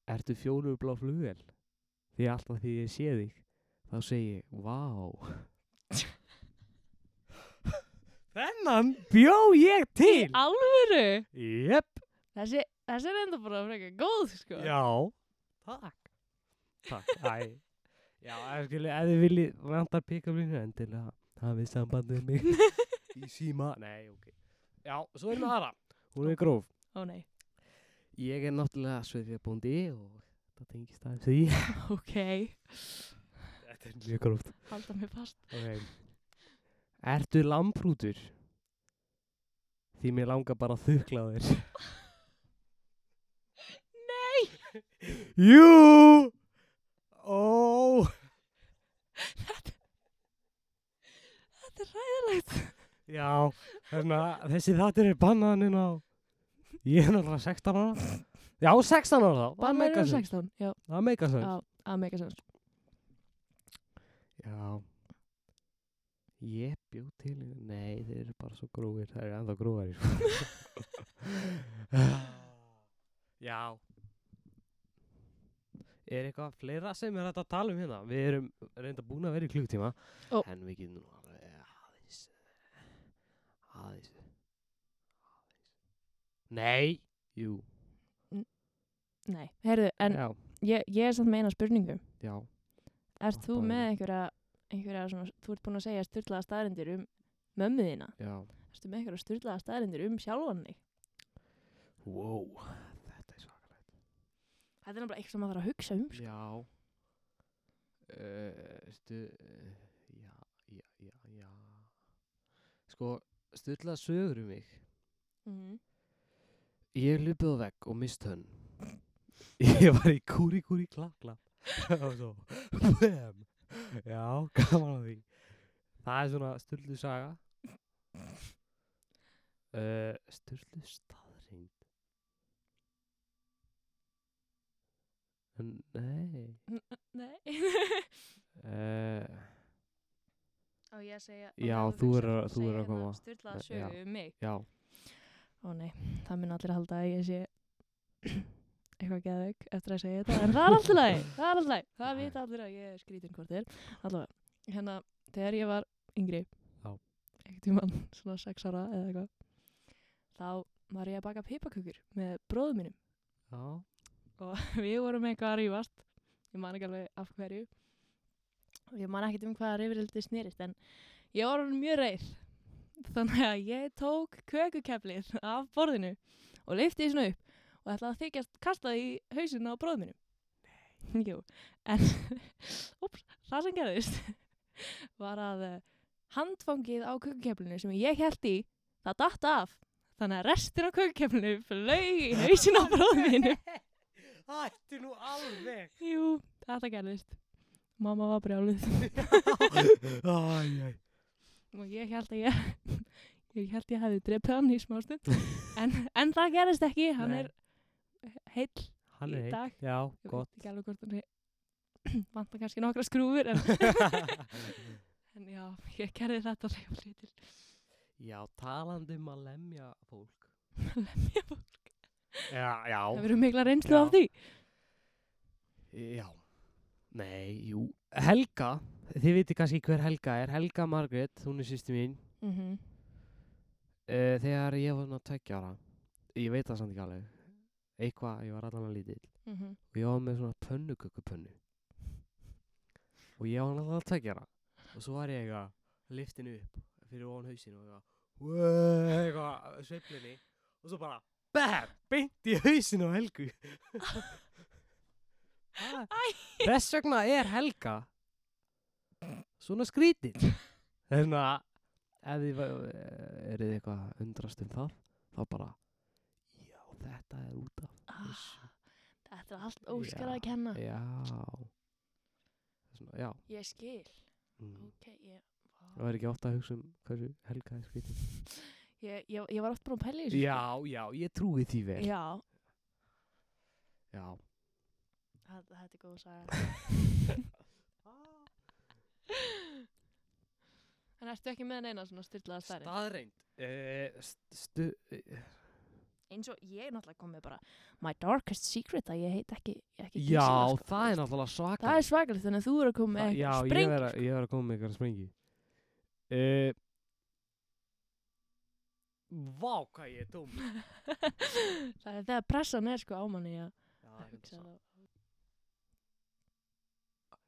S1: Ertu fjólublá flugel? Því alltaf því ég sé þig Þá segi ég, vá
S2: *laughs*
S1: Þennan bjó ég
S2: Í alvöru?
S1: Jep
S2: Þessi, þessi er enda bara frekar góð, sko.
S1: Já Takk Takk, æ Já, ef, skilur, ef þið viljið vantar pikkulínur endilega hafið samband við mig *laughs* í síma Nei, ok Já, svo erum við aðra Hún er gróf
S2: Ó nei.
S1: Ég er náttúrulega sveifjabóndi og það tengist aðeins því
S2: Ok,
S1: *laughs* Þetta er mjög gróft
S2: halda mig fast.
S1: okay. Ertu lamprútur? Því mér langar bara að þukla á *laughs* þér
S2: Nei!
S1: Jú Ó Já, þannig að þessi þáttir er bannaðan inn á Ég er náttúrulega 16 ára Já, 16 ára þá, það
S2: Bann
S1: meika
S2: verður
S1: sens
S2: 16, já,
S1: Það meika sens
S2: á, að meika sens.
S1: Já Ég bjó til Nei, þeir eru bara svo grófir Það eru ennþá grófari sko. *laughs* Já Er eitthvað fleira sem er hægt að tala um hérna? Við erum reynda búin að vera í klukkutíma
S2: Ó.
S1: En við getum nú alveg eh, aðeins eh, Aðeins Aðeins Nei Jú
S2: Nei, heyrðu, en
S1: Já,
S2: ég, ég er samt með eina spurningu.
S1: já
S2: Ert þú
S1: Oppaðu.
S2: með einhverja, einhverja svona, þú ert búin að segja styrlaða staðrindir um mömmuðina.
S1: Já
S2: Ertu með einhverja styrlaða staðrindir um sjálfan þig?
S1: Wow Þetta er svakalegt
S2: Þetta er náttúrulega eitthvað sem maður þarf að hugsa um. sko.
S1: Já uh, stu, uh, Já, já, já, já Sko, stuðla sögur um mig
S2: Mhm.
S1: Ég hef lupið á vegg og mist hönn Ég var í kúri kúri klakla *laughs* og svo bam. Já, gaman að því Það er svona styrlu saga uh, Styrlu staðrind Nei
S2: *laughs* Nei.
S1: uh,
S2: Á ég að um segja.
S1: Já, þú verður að- þú verður að koma.
S2: Styrlaða
S1: Nei, já.
S2: hérna sögu um mig.
S1: Já,
S2: Ó nei, það minn allir halda að ég sé *coughs* eitthvað geðveik eftir að segja þetta en það er alltaf læg, það er alltaf læg það
S1: Já, já.
S2: vita allir að ég er skrítin hvort þér allavega, hérna, þegar ég var yngri
S1: Já.
S2: ekkert tímann svona sex ára eða eitthvað þá var ég að baka pipakökur með bróðum mínum
S1: já,
S2: og *laughs* við vorum eitthvað að rífast ég man ekki alveg af hverju og ég man ekkert um hvað reyfrildi snýrist en ég var orðin mjög reyð þannig að ég tók kökukeflið af borðinu og leifti því svona upp og ætlaði að þykjast kasta því í hausinn á bróðminu Jú, en *laughs* ups, það sem gerðist *laughs* var að eh, handfangið á kökukeflinu sem ég held í það datt af þannig að restin á kökukeflinu flög í hausinn á
S1: *laughs*
S2: bróðminu
S1: Ætti nú
S2: *laughs*
S1: alveg
S2: Jú, þetta gerðist. Mamma var brjáluð
S1: Æj, æj
S2: og ég held að ég, ég held ég hefði drepið hann í smástund. En, en það gerðist ekki, hann
S1: Nei.
S2: er heill.
S1: Hann
S2: Í
S1: er
S2: dag.
S1: heitt, já,
S2: Ég
S1: gott
S2: veit ekki alveg hvort hann er, vantar kannski nokkra skrúfur, en,
S1: *laughs*
S2: en já, ég gerði þetta þegar ég var lítil.
S1: Já, talandi um að lemja fólk
S2: Lemja fólk.
S1: Já,
S2: Það
S1: já,
S2: verður mikla reynslu
S1: Já.
S2: af því.
S1: já. Nei, jú Helga, þið viti kannski hver Helga er Helga Margrét, hún er sýsti mín
S2: Mm -hmm.
S1: uh, Þegar ég var svona tveggja ára Ég veit það samt ekki alveg Eitthvað, ég var allan að lítið
S2: Mm -hmm.
S1: og ég var með svona pönnukökupönnu og ég var náttúrulega að tveggja hana og svo var ég eitthvað liftinu upp fyrir ofan hausinu og eitthvað "Whoa", eitthvað sveiflinni og svo bara BAM! beint í hausinu á Helgu Ha, þess vegna er Helga svona skrítið þannig að ef þið va- eruð þið eitthvað að undrast um það þá bara já þetta er út af
S2: Ah.
S1: þessu
S2: Þetta er allt óskar að kenna.
S1: Já Svona, já
S2: Ég skil.
S1: mm.
S2: Ok, ég...
S1: Það var ekki ofta að hugsa um hversu helga er skrítið
S2: Ég, ég, ég var oft búin að pæla í þessu. sko.
S1: Já, já, ég trúi því vel
S2: Já,
S1: já.
S2: það- þetta er góð saga. *laughs* En ertu ekki með neina svona styrlaða stærinn?
S1: Staðreind uh, stu, uh,
S2: Eins og ég er náttúrulega komið bara My darkest secret að ég heit ekki, ekki
S1: Já,
S2: Gísela, sko.
S1: það er náttúrulega svaka
S2: Það er svakalegt þannig að þú eru að koma með
S1: Já,
S2: eitthvað
S1: ég
S2: sprengi sko.
S1: er, að, ég er að koma með eitthvað sprengi uh, Vá, hvað ég er dóm
S2: *laughs* Það er þegar pressan er sko á manni að að hugsa það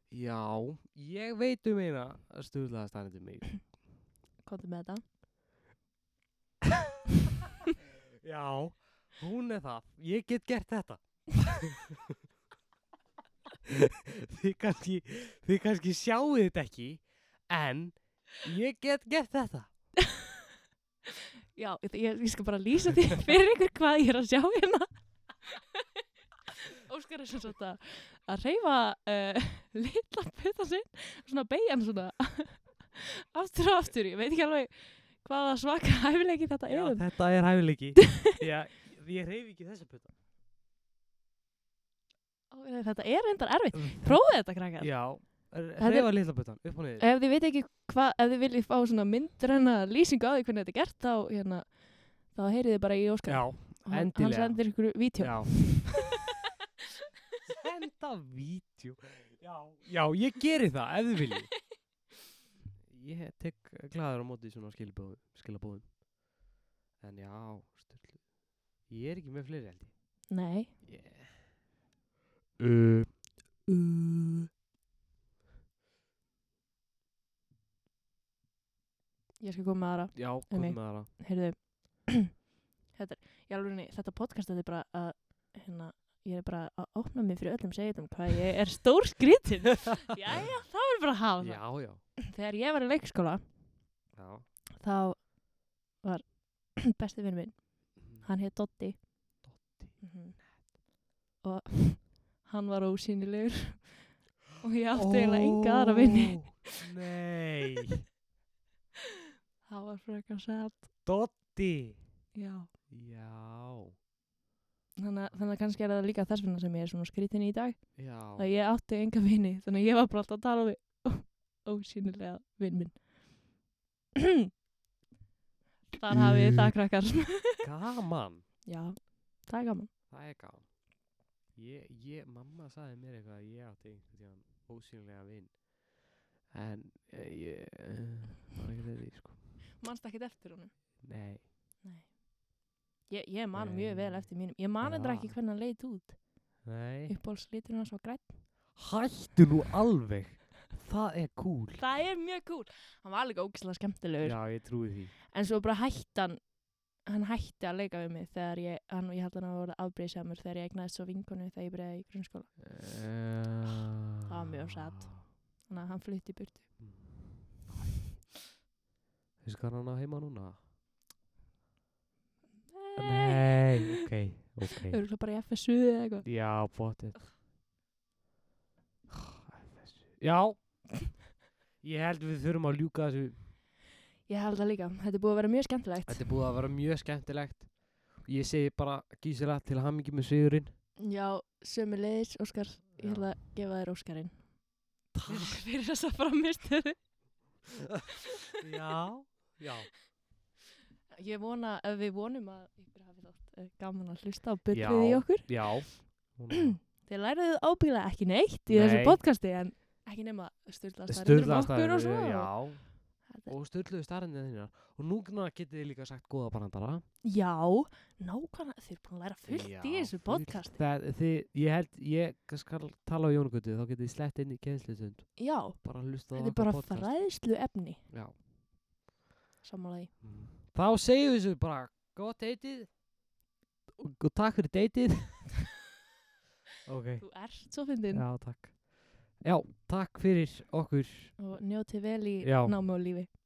S1: Já, ég veit um eina stuðlaða staðreind um mig
S2: Komdu með þetta
S1: Já, hún er það. Ég get gert þetta. þið, kannski, þið kannski sjáu þetta ekki, en ég get gert þetta.
S2: Já, ég, ég, ég skal bara lýsa því *laughs* fyrir ykkur hvað ég er að sjá
S1: *laughs*
S2: hérna Óskar er sem sagt að að reyfa uh, *laughs* litla puta sinn svona beigjan svona aftur og aftur, ég veit ekki alveg hvaða svaka *laughs* hæfileiki þetta
S1: Já,
S2: er um.
S1: þetta er hæfileiki. Já, ég reyfi ekki þessa putta.
S2: *laughs* Ó, Þetta er reyndar erfitt. Prófið þetta, krakkar.
S1: Já, r-
S2: er-
S1: hreyfa litla puttan, upp og niður.
S2: Ef þið veit ekki hvað, ef þið viljið fá svona myndræna lýsingu á því hvernig þetta er gert, þá, hérna, þá heyrið þið bara í Óskar.
S1: Já,
S2: Og hann-
S1: endilega.
S2: Hann sendir ykkur vítjó. *laughs*
S1: já. Senda vídeo. Já, já, ég geri það, ef þið viljið. *laughs* Ég tek glæður á móti svona skilabóðum. skilabóðum. En já, stöldu. Ég er ekki með fleiri held ég.
S2: Nei.
S1: Uh,
S2: Ég skal koma með aðra.
S1: já,
S2: Nei,
S1: komum
S2: nei.
S1: með aðra.
S2: Heyrðu, *clears throat* þetta er, ég alveg niður, þetta podcast, þetta er bara að, hérna, ég er bara að opna mig fyrir öllum segitum hvað ég er stór skrítin. Jæja, þá er bara að hafa það.
S1: Já, já.
S2: Þegar ég var í leikskóla,
S1: Já.
S2: þá var *clears throat* besti vinn minn, hann heit Dotti. Mhm. Og hann var ósýnilegur og ég átti eiginlega enga aðra vinni.
S1: Ó, Nei,
S2: Það var frekar sætt.
S1: Dotti.
S2: Já.
S1: Já,
S2: Þannig að, þannig að kannski er það líka þess vegna sem ég er svona skrítin í dag.
S1: já.
S2: að ég átti enga vini þannig að ég var bara alltaf að tala við *laughs* ó- ósýnilega vinn minn *clears throat* þar hafið þið það krakkar
S1: Gaman.
S2: *laughs* já, það er gaman
S1: Það er gaman. Ég, ég, mamma sagði mér eitthvað að ég átti einhvern tíðan ósýnilega vinn. En eh, ég, eh, var ekki þetta í sko.
S2: manst ekki eftir honum
S1: Nei.
S2: ég, ég man
S1: Nei.
S2: mjög vel eftir mínum ég man
S1: Já.
S2: þetta ekki hvernig hann leit út
S1: Nei.
S2: uppbólsliturinn hans var grætt
S1: Hættu nú alveg. Það er cool.
S2: það er mjög cool hann var alveg ógislega skemmtilegur
S1: Já, ég trúi því.
S2: en svo bara hættan hann hætti að leika við mig þegar ég, hann, ég held að hann að voru afbreyðsamur þegar ég egnaði svo vinkonu þegar ég byrjaði í grunnskóla
S1: Það
S2: var mjög sad. þannig að hann flutti í burtu
S1: Veistu hvað hann á heima núna?
S2: Nei.
S1: Nei, ok, ok.
S2: Örgulega bara í FSU eða eitthvað.
S1: Já, bóttið. Já, ég held við þurfum að ljúka þessu.
S2: Ég held það líka. Þetta er búið að vera mjög skemmtilegt.
S1: Þetta er búið að vera mjög skemmtilegt. Ég segi bara gísila til hamingi með sigurinn.
S2: Já, sömu leiðis, Óskar. Ég ætla að gefa þér Óskarinn. Takk fyrir þessa framistöðu.
S1: Já, já.
S2: Ég vona, ef við vonum að ykkur hafi þátt eh, gaman að hlusta á
S1: Já.
S2: byrjuðið í okkur.
S1: Já. *clears throat* Núna.
S2: Þið læriðu ábyggilega ekki neitt í þessu
S1: Nei.
S2: podcasti, en ekki nema styrlaðast
S1: Sturlaðast
S2: okkur og svo.
S1: Já,
S2: Þetta-
S1: og sturluðu starrendið þínar. Og núna getið þið líka sagt góða barandara.
S2: Já, nákvæmlega, þið eru búin að læra fullt í
S1: Já,
S2: þessu
S1: fullt.
S2: podcasti.
S1: Það, þið, ég held, ég skal tala á Jónugutu, þá getið þið slett inn í kennslisund.
S2: Já,
S1: Bara hlusta á
S2: þetta er
S1: okkar
S2: bara
S1: podcast.
S2: fræðslu efni,
S1: Já.
S2: sammálaði.
S1: Þá segjum við svo bara gott eitið og, og takk fyrir deitið Ok
S2: Þú ert svo fyndin
S1: Já, takk Já, takk fyrir okkur
S2: og njótið vel í
S1: Já.
S2: námi og lífi.